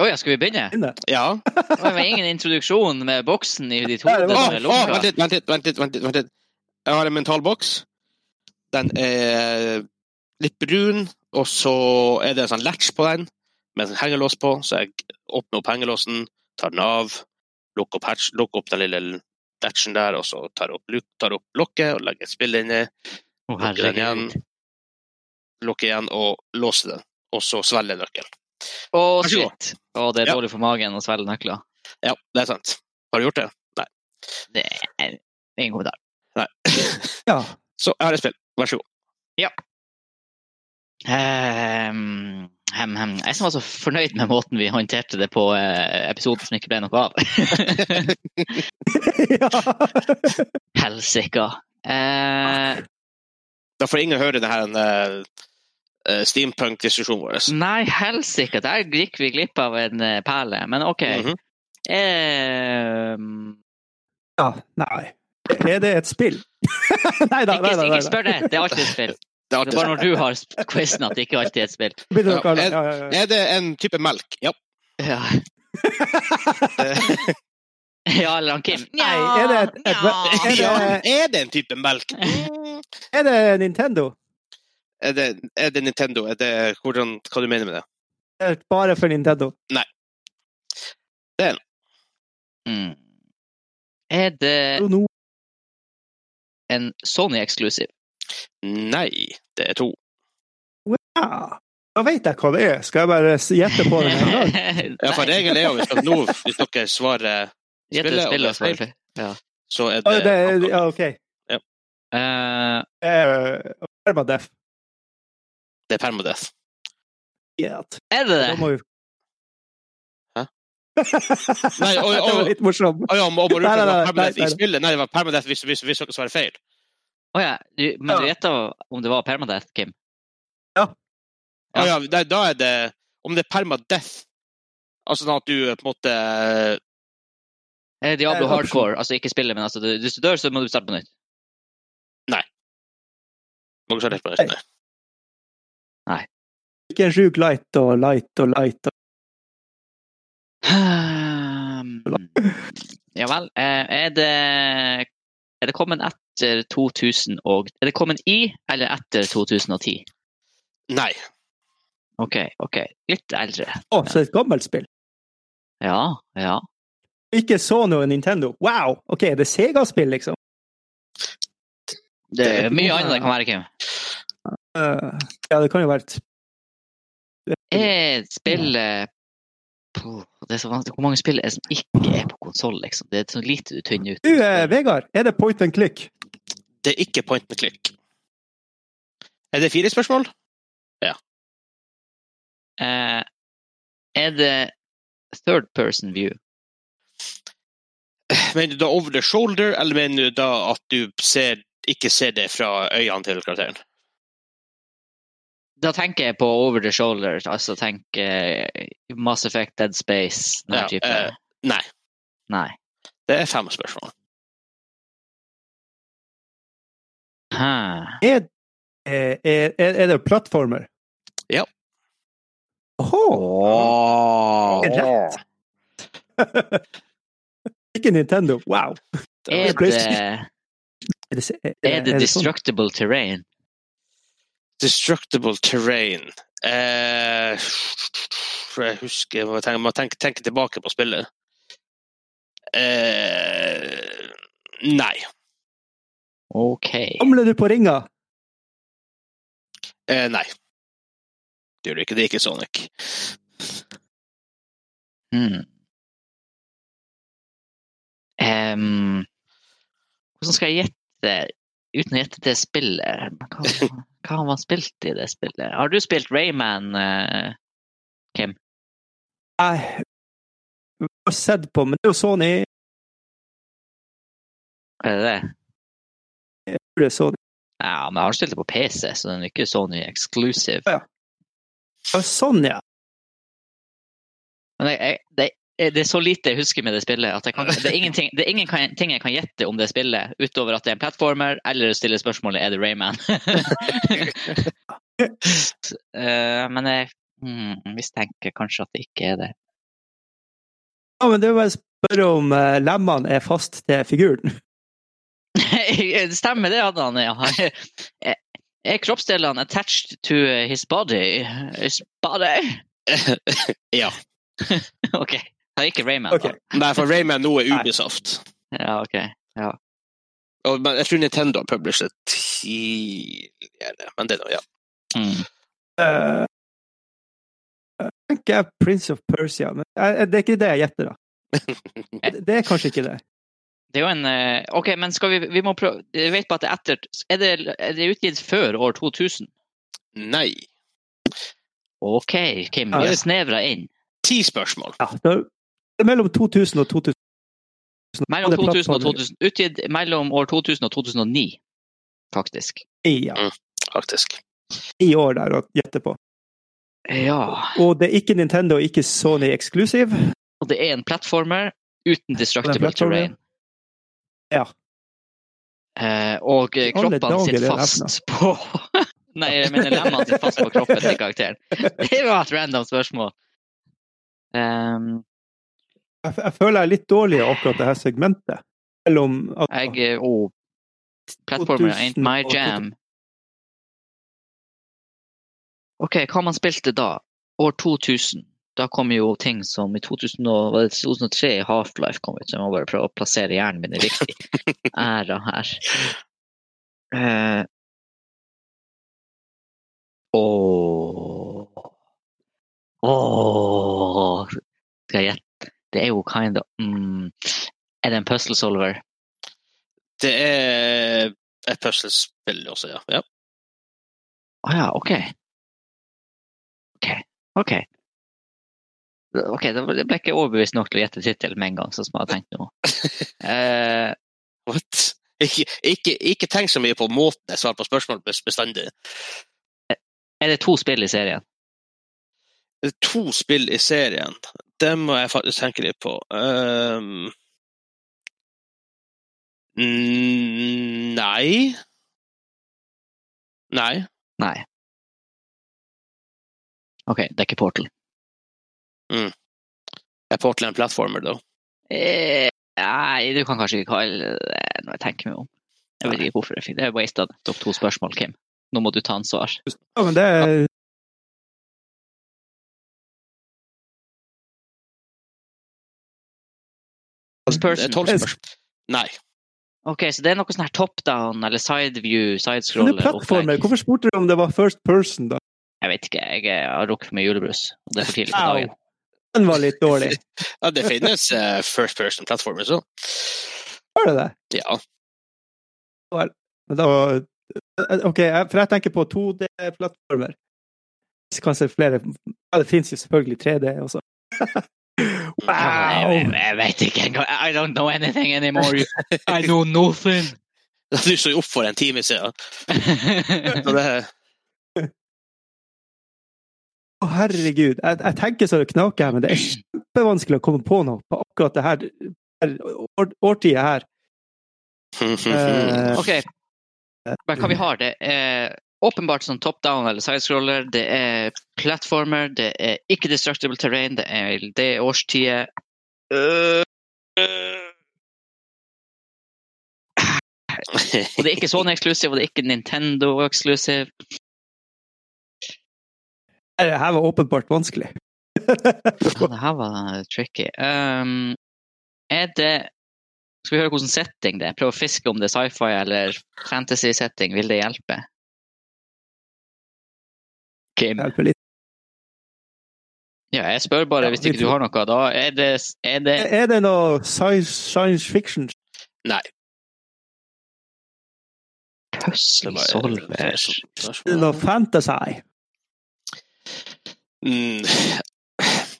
Speaker 2: Å ja, skal vi begynne?
Speaker 3: Inne.
Speaker 1: Ja.
Speaker 2: Det var ingen introduksjon med boksen i ditt
Speaker 3: Nei,
Speaker 2: hode.
Speaker 3: det
Speaker 1: Å,
Speaker 3: var-
Speaker 2: som er sånn
Speaker 1: å,
Speaker 2: lukka.
Speaker 1: vent litt, vent litt, vent litt, vent litt, vent litt. Jeg har en mentalboks. Den er litt brun, og så er det en sånn latch på den med en hengelås på, så jeg åpner opp hengelåsen, tar den av, lukker opp, hatch, lukker opp den lille latchen der, og så tar jeg opp, luk- tar jeg opp lokket og legger et spill inni,
Speaker 2: Å,
Speaker 1: lukker den igjen,
Speaker 2: herregud.
Speaker 1: lukker igjen og låser den, og så svelger jeg nøkkelen.
Speaker 2: Å,
Speaker 1: Vær så god.
Speaker 2: shit. Å, det er
Speaker 1: Ja.
Speaker 2: dårlig for magen å svelge nøkler.
Speaker 1: Ja, det er sant. Har du gjort det?
Speaker 2: Det er ingen kommentar.
Speaker 3: Ja.
Speaker 1: Så jeg har et spill. Vær så god.
Speaker 2: Ehm, hem, hem. Jeg som var så fornøyd med måten vi håndterte det på eh, episoden som ikke ble noe av.
Speaker 3: ja.
Speaker 2: Helsika. Eh,
Speaker 1: Da får ingen høre denne eh, steampunk-diskusjonen vår.
Speaker 2: nei, helsika. Der gikk vi glipp av en eh, perle. Men OK.
Speaker 1: Mhm.
Speaker 2: Ehm,
Speaker 3: ja. Nei. Er det et spill? nei da, nei
Speaker 2: ikke,
Speaker 3: da.
Speaker 2: ikke spør det. Det er alltid et spill.
Speaker 1: Det er
Speaker 2: Det
Speaker 1: artig.
Speaker 2: er bare når du har sp- quizen at det ikke alltid er et spill.
Speaker 3: Begynner dere
Speaker 1: Ja,
Speaker 3: å ja, ja, ja.
Speaker 1: Er det en type melk? Ja.
Speaker 2: Ja,
Speaker 1: Eh,
Speaker 2: ja eller han Kim.
Speaker 3: Nei, er det et- et-
Speaker 2: Nja.
Speaker 3: Er det-
Speaker 1: er det en type melk? Mm.
Speaker 3: Er det Nintendo?
Speaker 1: Er det, er det Nintendo? Er det, hvordan, hva du mener med det?
Speaker 3: Er det Bare for Nintendo?
Speaker 1: Det er den.
Speaker 2: Mm. Er det
Speaker 3: Jo, nå-
Speaker 2: en Sony eksklusiv?
Speaker 1: Nei, det er to.
Speaker 3: Ja. Da vet jeg hva det er. Skal jeg bare s- gjette på det? med en gang?
Speaker 1: Ja, for regelen er jo hvis, at nå, hvis dere svarer, spillet, og det er feil.
Speaker 2: Spillet,
Speaker 1: så er
Speaker 3: Ja,
Speaker 1: det,
Speaker 3: det er- ja, OK.
Speaker 2: uh,
Speaker 3: Det er, uh, Permadeath.
Speaker 1: det er permadeath.
Speaker 3: Yeah.
Speaker 2: er det
Speaker 3: Da
Speaker 2: det?
Speaker 3: må vi
Speaker 1: Hæ?
Speaker 3: Nei,
Speaker 1: Nei, oi, oi.
Speaker 3: Det var litt morsomt.
Speaker 1: Å ja, må må du
Speaker 3: Nei,
Speaker 1: det
Speaker 3: nei,
Speaker 1: var
Speaker 3: nei,
Speaker 1: permadeath
Speaker 3: nei,
Speaker 1: i
Speaker 3: nei.
Speaker 1: spillet? Nei, det var permadeath hvis, hvis, hvis dere svarer feil.
Speaker 2: Å ja. Du, men du
Speaker 3: Ja.
Speaker 2: gjetta om det var Permadeath, Kim?
Speaker 1: Ja, ja, nei, da er det Om det er permadeath, altså sånn at du eh, på en måte
Speaker 2: Eh, Diablo
Speaker 3: Eh,
Speaker 2: hardcore, altså ikke spillet, men altså, du- hvis du dør, så må du starte på nytt.
Speaker 1: Må dere svare helt på det? Nei.
Speaker 3: Ikke en sjuk light og light og light. og-
Speaker 2: Ja vel. eh, Er det, er det kommet etter 2000 og Er det kommet i eller etter 2010?
Speaker 1: nei.
Speaker 2: OK, OK. Litt eldre.
Speaker 3: Å, så et gammelt spill.
Speaker 2: Ja, ja.
Speaker 3: Ikke Sony og Nintendo. Wow! OK, det er Sega-spill, liksom.
Speaker 2: Det er mye annet det kan være, Kim.
Speaker 3: Eh, ja, det kan jo være et
Speaker 2: Er spillet Puh, eh, det er så vanskelig. Hvor mange spill er det som ikke er på konsoll, liksom? Det er så lite du tynner ut.
Speaker 3: Du, eh, Vegard, er det point and click?
Speaker 1: Det er ikke point and click. Er det fire spørsmål?
Speaker 2: Eh, er det third person view?
Speaker 1: Mener du da over the shoulder, eller mener du da at du ser, ikke ser det fra øynene til karakteren?
Speaker 2: Da tenker jeg på over the shoulder, altså tenk eh, Mass Effect, Dead Space, den
Speaker 1: Ja,
Speaker 2: type.
Speaker 1: eh, nei.
Speaker 2: Nei.
Speaker 1: Det er fem spørsmål.
Speaker 2: Hæ.
Speaker 3: Er, eh, er, er, er det plattformer?
Speaker 1: Ja.
Speaker 3: Åhå! Er det rett? Ikke Nintendo. Wow!
Speaker 2: Er det,
Speaker 3: Er det, se- er,
Speaker 2: er det
Speaker 3: sånn?
Speaker 2: destructible terrain?
Speaker 1: Destructible terrain. Eh, jeg husker Jeg må tenke, må tenke, tenke tilbake på spillet. Eh, nei.
Speaker 2: OK.
Speaker 3: Samler du på ringer?
Speaker 1: Eh, nei. Det gjør det ikke. Det er ikke Sonic.
Speaker 2: Hmm. Em, hvordan skal jeg gjette uten å gjette det spillet? Hva, hva har man spilt i det spillet? Har du spilt Rayman? eh?
Speaker 3: Jeg har sett på, men det er jo Sony.
Speaker 2: Er det det?
Speaker 3: Jeg tror det er Sony.
Speaker 2: Ja, men jeg har spilt det på PC, så den er ikke Sony exclusive.
Speaker 3: Ja, Sånn, ja.
Speaker 2: Men jeg, jeg, det, det er så lite jeg husker med det spillet. At jeg kan, det er ingenting det er ingen kan- ting jeg kan gjette om det spillet, utover at det er en platformer, eller å stille spørsmålet er det Rayman. Eh, men jeg hmm, mistenker kanskje at det ikke er det.
Speaker 3: ja men det er bare å spørre om eh, lemmene er fast til figuren.
Speaker 2: det stemmer det, Adnan. Ja. Er- Er kroppsdelene attached to his body? His body?
Speaker 1: ja.
Speaker 2: OK. Det er ikke Rayman,
Speaker 3: Ok.
Speaker 1: Nei, for Rayman nå er Ubisoft.
Speaker 2: da. Ja, ok.
Speaker 1: Og, men jeg tror Nintendo har publisert tidligere, men det er nå ja.
Speaker 2: Hmm.
Speaker 3: Eh, Jeg tenker jeg Prince of Persia, men eh, det er ikke det jeg gjetter, da. Det- Det er kanskje ikke det.
Speaker 2: Det er jo en eh, OK, men skal vi, vi må prøve Jeg vet bare at det er etter er det, er det utgitt før år 2000?
Speaker 1: Nei.
Speaker 2: OK, Kim. Vi
Speaker 3: Ja, det-
Speaker 2: har snevra inn.
Speaker 1: Ti spørsmål.
Speaker 3: Ja, det er- det er mellom 2000 og 2000.
Speaker 2: Mellom
Speaker 3: Det er
Speaker 2: 2000 og
Speaker 3: plattformer.
Speaker 2: 2000, utgitt mellom år 2000 og 2009, faktisk.
Speaker 3: Ja,
Speaker 1: Faktisk.
Speaker 3: i år der å gjette på.
Speaker 2: Ja.
Speaker 3: Og det er ikke Nintendo og ikke Sony eksklusiv.
Speaker 2: Og det er en platformer uten
Speaker 3: Det er
Speaker 2: destructible
Speaker 3: en platformer.
Speaker 2: terrain.
Speaker 3: Ja.
Speaker 2: Eh, og eh,
Speaker 3: I alle
Speaker 2: kroppene sitter
Speaker 3: dager,
Speaker 2: fast på Nei, jeg mener lemmene sitter fast på kroppen til karakteren. Det var et random spørsmål. Um,
Speaker 3: Jeg, jeg føler jeg er litt dårlig i akkurat det her segmentet. Mellom at-
Speaker 2: Jeg oh, Platformer ain't my
Speaker 3: 2000 og
Speaker 2: jam. OK, hva man spilte da? År 2000. da kom jo ting som i 2000 og, var det 2003 i Half-Life kom ut, så jeg må bare prøve å plassere hjernen min i riktig æra her. Eh, Åh Åh Skal jeg gjette? Det er jo kind of mm, Er det en puzzle solver?
Speaker 1: Det er et puslespill også, ja. ja.
Speaker 2: Å ja, OK. OK. OK. Ok, da ble- Jeg ble ikke overbevist nok til å gjette tittelen med en gang, sånn som jeg hadde tenkt nå. Eh,
Speaker 1: What? Ikke, ikke, ikke tenk så mye på måten jeg svarer på spørsmål bes- bestandig.
Speaker 2: er det to spill i serien?
Speaker 1: Det er to spill i serien. Det må jeg faktisk tenke litt på. Ehm, mm, nei. Nei.
Speaker 2: Nei. OK, det er ikke Portal.
Speaker 1: Jeg får til en platformer, da.
Speaker 2: Eh, nei, du kan kanskje ikke kalle det når jeg tenker meg om. Jeg vet ikke hvorfor jeg fikk det. Jeg wasta nettopp to spørsmål, Kim. Nå må du ta ansvar.
Speaker 3: Ja, men det er
Speaker 2: First person.
Speaker 1: Det er tolv spørsmål. Nei.
Speaker 2: OK, så det er noe sånn her top down eller side view, side
Speaker 3: Men det
Speaker 2: scroller
Speaker 3: er plattformer.
Speaker 2: opplegg.
Speaker 3: Hvorfor spurte du om det var first person, da?
Speaker 2: Jeg vet ikke, jeg har rukket for mye julebrus. og Det er for tidlig på
Speaker 3: Au.
Speaker 2: dagen.
Speaker 3: Den var litt dårlig.
Speaker 1: Ja, det finnes eh, first person-plattformer, så.
Speaker 3: Var det det?
Speaker 1: Ja.
Speaker 3: Men da var- OK, jeg- for jeg tenker på 2D-plattformer. Kanskje flere Ja, det finnes jo selvfølgelig 3D også.
Speaker 2: Jeg, jeg,
Speaker 3: Wow!
Speaker 2: jeg vet ikke engang. I don't know anything anymore. I know nothing.
Speaker 1: Du så jo opp for en time siden. Så det,
Speaker 3: Å, herregud. Jeg, jeg tenker så det knaker her, men det er kjempevanskelig å komme på noe på akkurat det her her år, årtiet her. Eh,
Speaker 1: Mhm.
Speaker 2: OK, men hva vi har, det er åpenbart sånn top down eller side scroller, det er platformer, det er ikke destructible terrain, det er det er årstider. Øh, øh. Og det er ikke Sony eksklusiv, og det er ikke Nintendo eksklusiv.
Speaker 3: Det her var åpenbart vanskelig.
Speaker 2: Ja, det her var tricky. Ehm, er det Skal vi høre hvilken setting det er? Prøve å fiske om det er sci-fi eller fantasy-setting. Vil det hjelpe? Kim?
Speaker 3: Hjelper litt.
Speaker 2: Ja, jeg spør bare
Speaker 3: Ja,
Speaker 2: hvis
Speaker 3: vi
Speaker 2: ikke du har noe. Da er det, er det
Speaker 3: Er det noe science, science fiction?
Speaker 1: nei.
Speaker 2: puzzle solver?
Speaker 1: sånn
Speaker 3: Er det noe fantasy?
Speaker 1: Mm.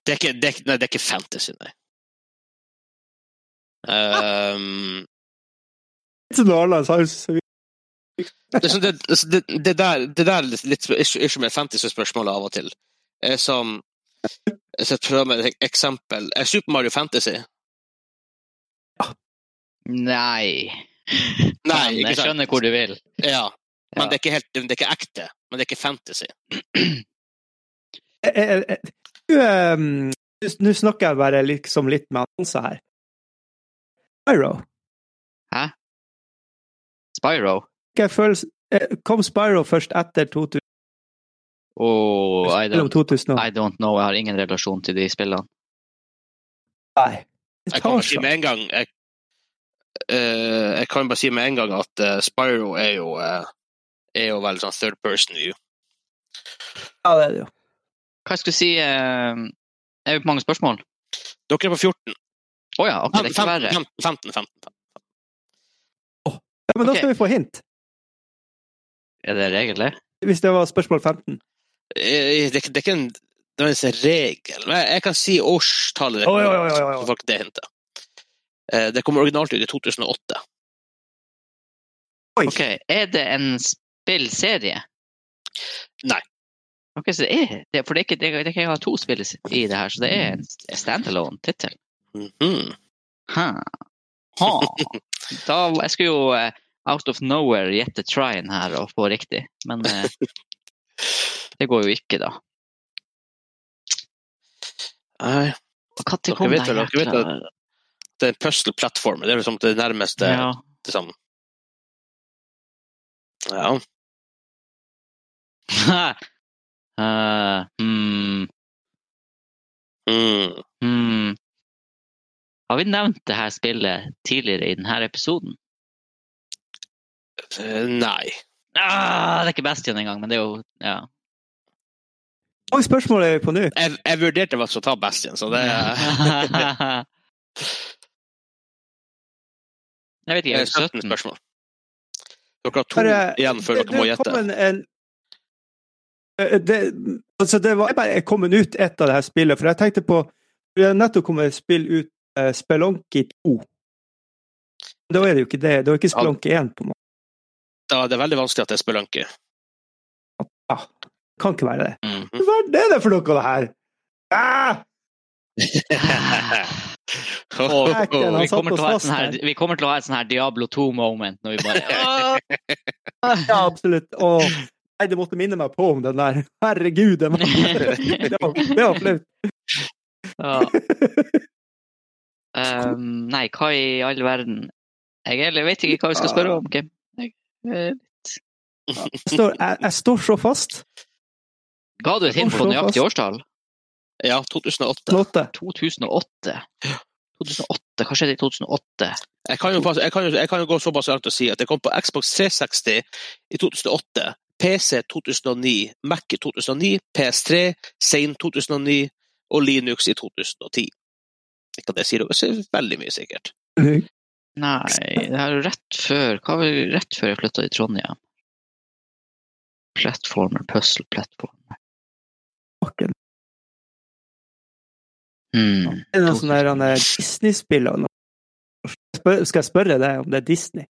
Speaker 1: Det er ikke, det er, ikke- nei, det er ikke fantasy, nei. Ehm,
Speaker 3: Litt sånn Arland science
Speaker 1: det, er sånn- det, altså, det, det der det der er litt, litt ikke, ikke mer fantasy-spørsmål av og til. Eh, Som altså, jeg skal prøve med et eksempel. Er Super Mario Fantasy?
Speaker 2: Nei.
Speaker 1: Nei,
Speaker 2: Men
Speaker 1: ikke
Speaker 2: jeg
Speaker 1: sant?
Speaker 2: skjønner hvor du vil.
Speaker 1: Ja. Men
Speaker 2: Ja.
Speaker 1: det er ikke, helt, det er ikke ekte. Men det er ikke fantasy.
Speaker 3: Eh, eh, eh, du, eh, Nå nå snakker jeg bare liksom litt med Hansa her. Spyro.
Speaker 2: Spyro.
Speaker 3: Hva jeg føler- eh, Kom Spyro først etter 2000,
Speaker 2: Oh, I,
Speaker 3: mellom
Speaker 2: don't,
Speaker 3: 2000 og
Speaker 2: I don't know. Jeg har ingen relasjon til de spillene.
Speaker 3: Nei. Det
Speaker 1: Jeg
Speaker 3: tar
Speaker 1: kan bare si
Speaker 3: seg.
Speaker 1: med en gang jeg, eh, jeg kan bare si med en gang at eh, Spyro er jo eh, er jo veldig sånn third person view.
Speaker 3: Ja, det er det jo.
Speaker 2: Hva skal jeg si? eh, Er vi på mange spørsmål?
Speaker 1: Dere er på 14.
Speaker 2: Å ja, ok, det er ikke verre.
Speaker 1: 15, 15, 15.
Speaker 3: Ja, men da
Speaker 2: Ok.
Speaker 3: skal vi få hint,
Speaker 2: Er det regel, det?
Speaker 3: hvis det var spørsmål 15.
Speaker 1: Eh, Det, er ikke- det er ikke en, det er en sånn regel. Men jeg, jeg kan si årstallet.
Speaker 3: Oi, oi, oi, oi, oi.
Speaker 1: Så får ikke det hintet. Eh, Det kommer originalt ut i 2008.
Speaker 3: Oi.
Speaker 2: Ok, er det en spillserie?
Speaker 1: Nei.
Speaker 2: Ok, så det er, det, for det er ikke, det er, det er ikke engang to spill i det her, så det er en standalone-tittel.
Speaker 1: Mhm.
Speaker 2: Ha. Ha. Da, jeg skulle jo eh, out of nowhere gjette tryen her og få riktig, men eh, det går jo ikke da.
Speaker 1: Nei,
Speaker 2: Og Hva til
Speaker 1: Dere
Speaker 2: kom
Speaker 1: vet
Speaker 2: det
Speaker 1: vel- dere vet
Speaker 2: jækla-
Speaker 1: Eh, Det er en puzzle-plattform. Det er liksom det nærmeste
Speaker 2: Ja.
Speaker 1: liksom. Ja.
Speaker 2: Eh, hmm.
Speaker 1: Mm.
Speaker 2: Hmm. Har vi nevnt det her spillet tidligere i denne episoden?
Speaker 1: Eh, Nei.
Speaker 2: Ah, det er ikke Bastion engang, men det er jo ja.
Speaker 3: Hvor mange spørsmål er vi på nå?
Speaker 1: Jeg, jeg vurderte faktisk å ta Bastion, så det
Speaker 2: Jeg vet
Speaker 1: det
Speaker 2: ikke,
Speaker 1: er 17
Speaker 2: 17?
Speaker 1: spørsmål. Dere har to
Speaker 3: Bare-
Speaker 1: igjen før dere må
Speaker 3: eh, Det- det
Speaker 1: gjette.
Speaker 3: kom en- en- Eh, det, altså det var jeg bare jeg kom ut ett av det her spillet, for jeg tenkte på Det har nettopp kommet et spill ut, eh, Spelunky 2. Men Da er det jo ikke det. Det er jo ikke Spelunky 1, på en måte.
Speaker 1: Da er det veldig vanskelig at det er spelunky.
Speaker 3: Ja, det kan ikke være det.
Speaker 2: Mm.
Speaker 3: Hva er det det for noe, det her? Ah! Dæken,
Speaker 2: Vi
Speaker 3: han satt
Speaker 2: kommer, til å ha et
Speaker 3: oss
Speaker 2: sånn her,
Speaker 3: fast
Speaker 2: vi kommer til å ha et sånn her Diablo 2-moment når vi bare
Speaker 3: Ja, absolutt. Og nei, det måtte minne meg på om den der. Herregud, det var, det var, det var flaut.
Speaker 2: Ja. Ehm, nei, hva i all verden? Jeg heller vet ikke hva vi skal spørre om, Kim. Jeg, eh,
Speaker 3: Jeg, står- jeg, jeg står så fast.
Speaker 2: Ga du et hint på nøyaktig årstall?
Speaker 1: Ja, 2008.
Speaker 3: Nåte.
Speaker 2: 2008. 2008, Hva skjedde i 2008?
Speaker 1: Jeg kan, jo, passe- jeg, kan jo, jeg kan jo gå såpass langt og si at det kom på Xbox 360 i 2008, PC 2009, Mac i 2009, PS3 sen 2009 og Linux i 2010. Ikke at det sier noe, så er det veldig mye sikkert.
Speaker 2: Nei, det er jo rett før Hva var det rett før jeg flytta til Trondheim? Platformer, puzzle platform.
Speaker 3: Fucken.
Speaker 2: Hmm.
Speaker 3: Det er noe sånn der han er Disney-spill og noe. Spør, skal jeg spørre deg om det er Disney?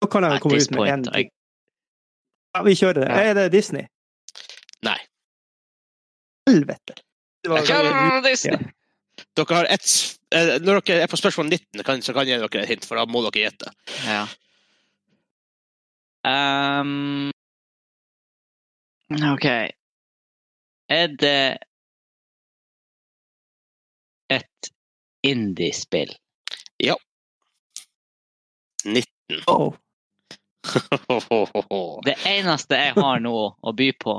Speaker 3: Da kan jeg
Speaker 2: At
Speaker 3: vel komme
Speaker 2: this
Speaker 3: ut med én
Speaker 2: point,
Speaker 3: ting. Ja, vi kjører det.
Speaker 2: Ja.
Speaker 3: Er det Disney?
Speaker 1: Nei.
Speaker 3: Helvete. Det var,
Speaker 1: Jeg kan-
Speaker 3: det
Speaker 2: I- Disney.
Speaker 1: Dere har et, s- eh, når dere er på spørsmål 19, kan, så kan jeg gi dere et hint, for da må dere gjette.
Speaker 2: Ja. Ehm, OK. Er det et indiespill?
Speaker 1: 19.
Speaker 3: oh,
Speaker 2: Det eneste jeg har nå å by på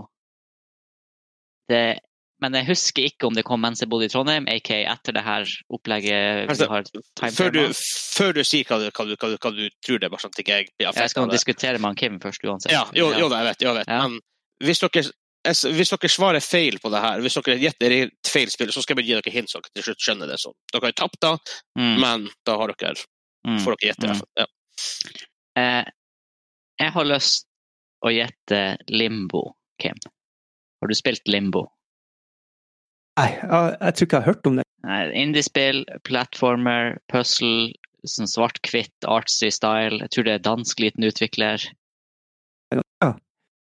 Speaker 2: det, Men jeg husker ikke om det kom mens jeg bodde i Trondheim, aka etter det her opplegget. vi
Speaker 1: Altså,
Speaker 2: har time
Speaker 1: Før du,
Speaker 2: frame av.
Speaker 1: før du sier hva du, hva du, hva du, hva du tror det er, bare sånn at ikke jeg blir
Speaker 2: Ja, jeg
Speaker 1: affekt
Speaker 2: skal
Speaker 1: av
Speaker 2: nå
Speaker 1: det.
Speaker 2: diskutere med han Kim først uansett.
Speaker 1: Ja, jo, jo da, jeg vet. Jo, jeg vet.
Speaker 2: Ja.
Speaker 1: Men hvis dere, jeg s- hvis dere svarer feil på det her, hvis dere gjetter helt feil spill, så skal jeg bare gi dere hint så dere til slutt skjønner det. Så dere har jo tapt da,
Speaker 2: Mm,
Speaker 1: men da har dere,
Speaker 2: mm.
Speaker 1: får dere gjette. i hvert fall. Ja.
Speaker 2: Eh, jeg har lyst å gjette Limbo, Kim. Har du spilt Limbo?
Speaker 3: nei, jeg, jeg tror ikke jeg har hørt om det.
Speaker 2: Nei, Eh, Indiespill, platformer, puzzle, sånn svart-hvitt, artsy style. Jeg tror det er dansk liten utvikler.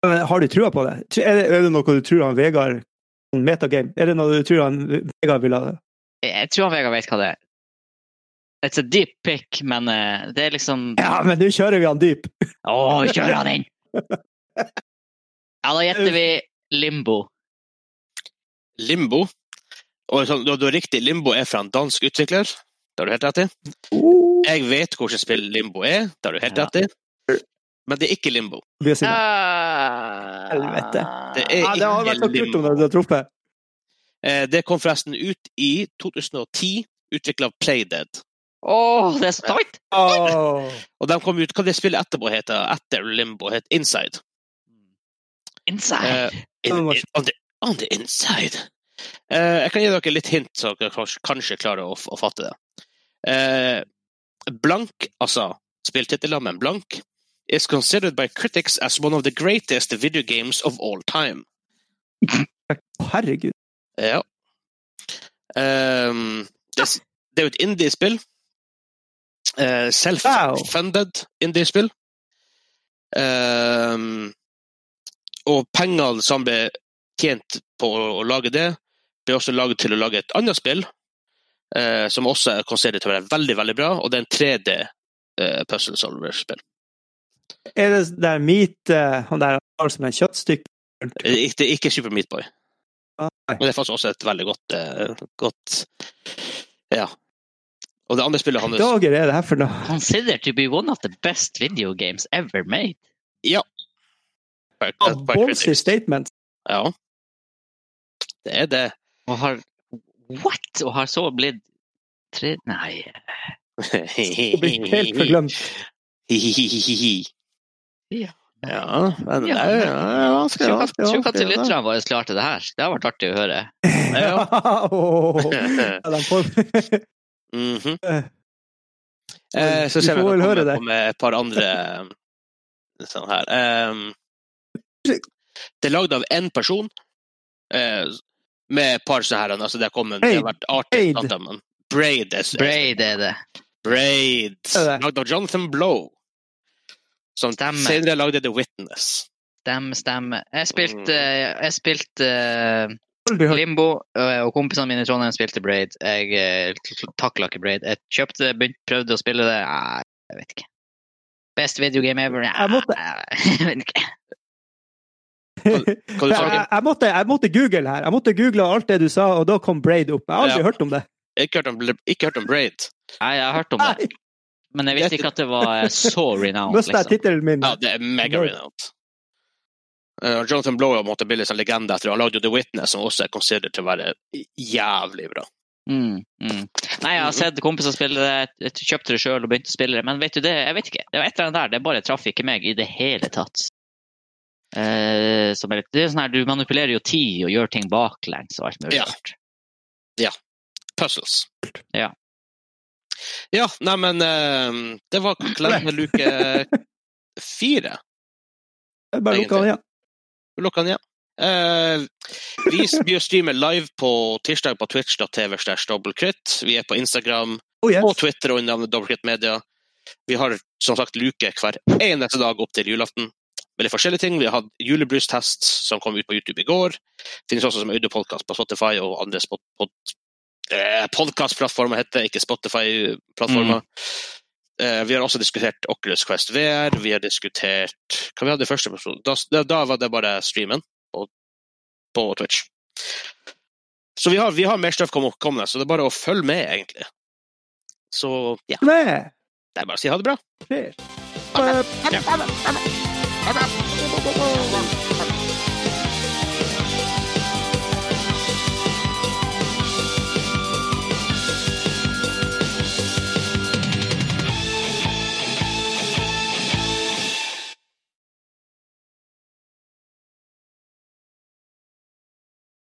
Speaker 3: Men har du trua på det? Tr- Er det, er det noe du tror han Vegard Metagame? Er det noe du tror han Vegard vil ha?
Speaker 2: Jeg, jeg tror han Vegard vet hva det er. It's a deep pick, men eh, det er liksom Å,
Speaker 3: Ja, men nå kjører vi han dyp!
Speaker 2: vi kjører han inn! Ja, da gjetter vi Limbo.
Speaker 1: Limbo. Og sånn, du, du har riktig, Limbo er fra en dansk utvikler. Det har du helt rett i.
Speaker 3: Oh,
Speaker 1: Jeg vet hvilket spill Limbo er. Det har du helt
Speaker 2: Ja.
Speaker 1: rett i. Men det er ikke Limbo.
Speaker 3: blir å si det.
Speaker 2: Ah.
Speaker 3: Helvete.
Speaker 1: Det er
Speaker 3: Ja, det hadde vært så kult om du hadde truffet.
Speaker 1: Eh, Det kom forresten ut i 2010, utvikla av Playdead.
Speaker 2: Åh, det er så tight!
Speaker 3: Åh.
Speaker 1: Og de kom ut, Hva det spillet etterpå heter, etter Limbo, het Inside.
Speaker 2: Inside.
Speaker 1: in,
Speaker 3: Sånn var
Speaker 1: in, on, the, on the inside. Eh, jeg kan gi dere litt hint, så dere kanskje, kanskje klarer å, å fatte det. Eh, blank, altså spilltittelen, men blank, is considered by critics as one of the greatest video games of all time.
Speaker 3: Herregud.
Speaker 1: Ja. Ehm, det, s- det er jo et indie-spill. Eh, Self-funded indie-spill. Ehm, og pengene som ble tjent på å lage det, ble også laget til å lage et annet spill, eh, som også er konsentrert til å være veldig, veldig bra, og det er en 3D-puzzle solver-spill.
Speaker 3: Er det der meat eh, Han der har som en kjøttstykke?
Speaker 1: Det er ikke- det er ikke Super Meat Boy,
Speaker 3: Ah, Nei.
Speaker 1: men det er faktisk også et veldig godt, eh, godt Ja. Og det andre spillet hans
Speaker 3: Dager er det her for noe?
Speaker 2: Considered to be one of the best video games ever made.
Speaker 1: Park- Park Critics.
Speaker 3: Ballsy statement.
Speaker 1: Ja. Det er det.
Speaker 2: Og har What?! Og har så blitt tre... Nei.
Speaker 3: Det blir helt forglemt.
Speaker 1: Ja,
Speaker 2: Ja.
Speaker 1: men det
Speaker 2: Ja,
Speaker 1: er jo ja, vanskelig.
Speaker 2: Tro at
Speaker 1: vanskelig,
Speaker 2: tro at
Speaker 1: vanskelig, det.
Speaker 2: lytterne våre klarte det her. Det har vært artig å høre.
Speaker 1: Ja.
Speaker 3: Åh. Ja, de får...
Speaker 1: Mhm.
Speaker 3: Eh.
Speaker 1: Eh, så
Speaker 3: Vi
Speaker 1: ser vi
Speaker 3: får
Speaker 1: om
Speaker 3: vel høre
Speaker 1: det
Speaker 3: det.
Speaker 1: kommer med et par andre um, sånn her. Um, det er lagd av én person, eh, med et par sånne her, altså det har kommet det har vært artig.
Speaker 3: Braid.
Speaker 1: sant, da, men Braid. er-
Speaker 2: Braid er det.
Speaker 1: Braid.
Speaker 3: Det er det.
Speaker 1: Lagd av Jonathan Blow. Som
Speaker 2: Stemmer.
Speaker 1: senere lagde The Witness.
Speaker 2: Stemmer, stemmer. Jeg spilte
Speaker 1: Mm.
Speaker 2: jeg spilte eh,
Speaker 3: Aldri hørt.
Speaker 2: Limbo, eh, og kompisene mine i Trondheim spilte Braid. Jeg eh, takla ikke Braid. Jeg kjøpte det, begynte, prøvde å spille det. Nei, Jeg vet ikke. Best videogame ever? Nei,
Speaker 3: Jeg måtte-
Speaker 2: Jeg vet ikke.
Speaker 1: Hva du
Speaker 3: Jeg,
Speaker 1: sa du?
Speaker 3: jeg, jeg, måtte, jeg måtte google her. Jeg måtte google alt det du sa, og da kom Braid opp. Jeg har aldri
Speaker 1: Ja.
Speaker 3: hørt om det.
Speaker 1: Ikke hørt om, ikke hørt om Braid.
Speaker 2: Nei, jeg har hørt om det,
Speaker 3: Nei,
Speaker 2: men jeg visste ikke at det var eh, så renowned.
Speaker 3: Mista jeg
Speaker 2: Liksom.
Speaker 3: tittelen min?
Speaker 1: Ja, det er mega
Speaker 3: Blow.
Speaker 1: renowned. Eh, Jonathan Blow har måttet bli litt sånn legende etter det. Han lagde jo The Witness, som også er considered til å være jævlig bra.
Speaker 2: Mm, mm. Nei, jeg har sett kompiser spille det, jeg kjøpte det sjøl og begynte å spille det, men vet du det, jeg vet ikke. Det var et eller annet der, det bare traff ikke meg i det hele tatt. Eh, som er litt, det er sånn her, Du manipulerer jo tid og gjør ting baklengs og alt mulig
Speaker 1: Ja.
Speaker 2: rart.
Speaker 1: Puzzles.
Speaker 2: Ja.
Speaker 1: Ja, nei, men eh, det var kalender luke fire.
Speaker 3: Jeg bare lukka den igjen.
Speaker 1: Vi lukker den igjen. Eh, vi blir streamer live på tirsdag på twitch.tv. slash dobbeltkritt. Vi er på Instagram
Speaker 3: Oh, yes.
Speaker 1: og Twitter under navnet Dobbeltkritt Media. Vi har som sagt luke hver eneste dag opp til julaften. Veldig forskjellige ting. Vi har hatt julebrustest som kom ut på YouTube i går. Finnes også som audiopodkast på Spotify og andre spot pod eh, podkastplattformer, heter det, ikke Spotify-plattformer. Eh, vi har også diskutert Oculus Quest VR. Vi har diskutert Hva vi hadde i første episode? Da, da, da var det bare streamen på, på Twitch. Så vi har, vi har mer stuff kom- kommende, så det er bare å følge med, egentlig. Så ja,
Speaker 3: Med
Speaker 1: det er bare å si ha det bra.
Speaker 3: flere.
Speaker 1: Ha det.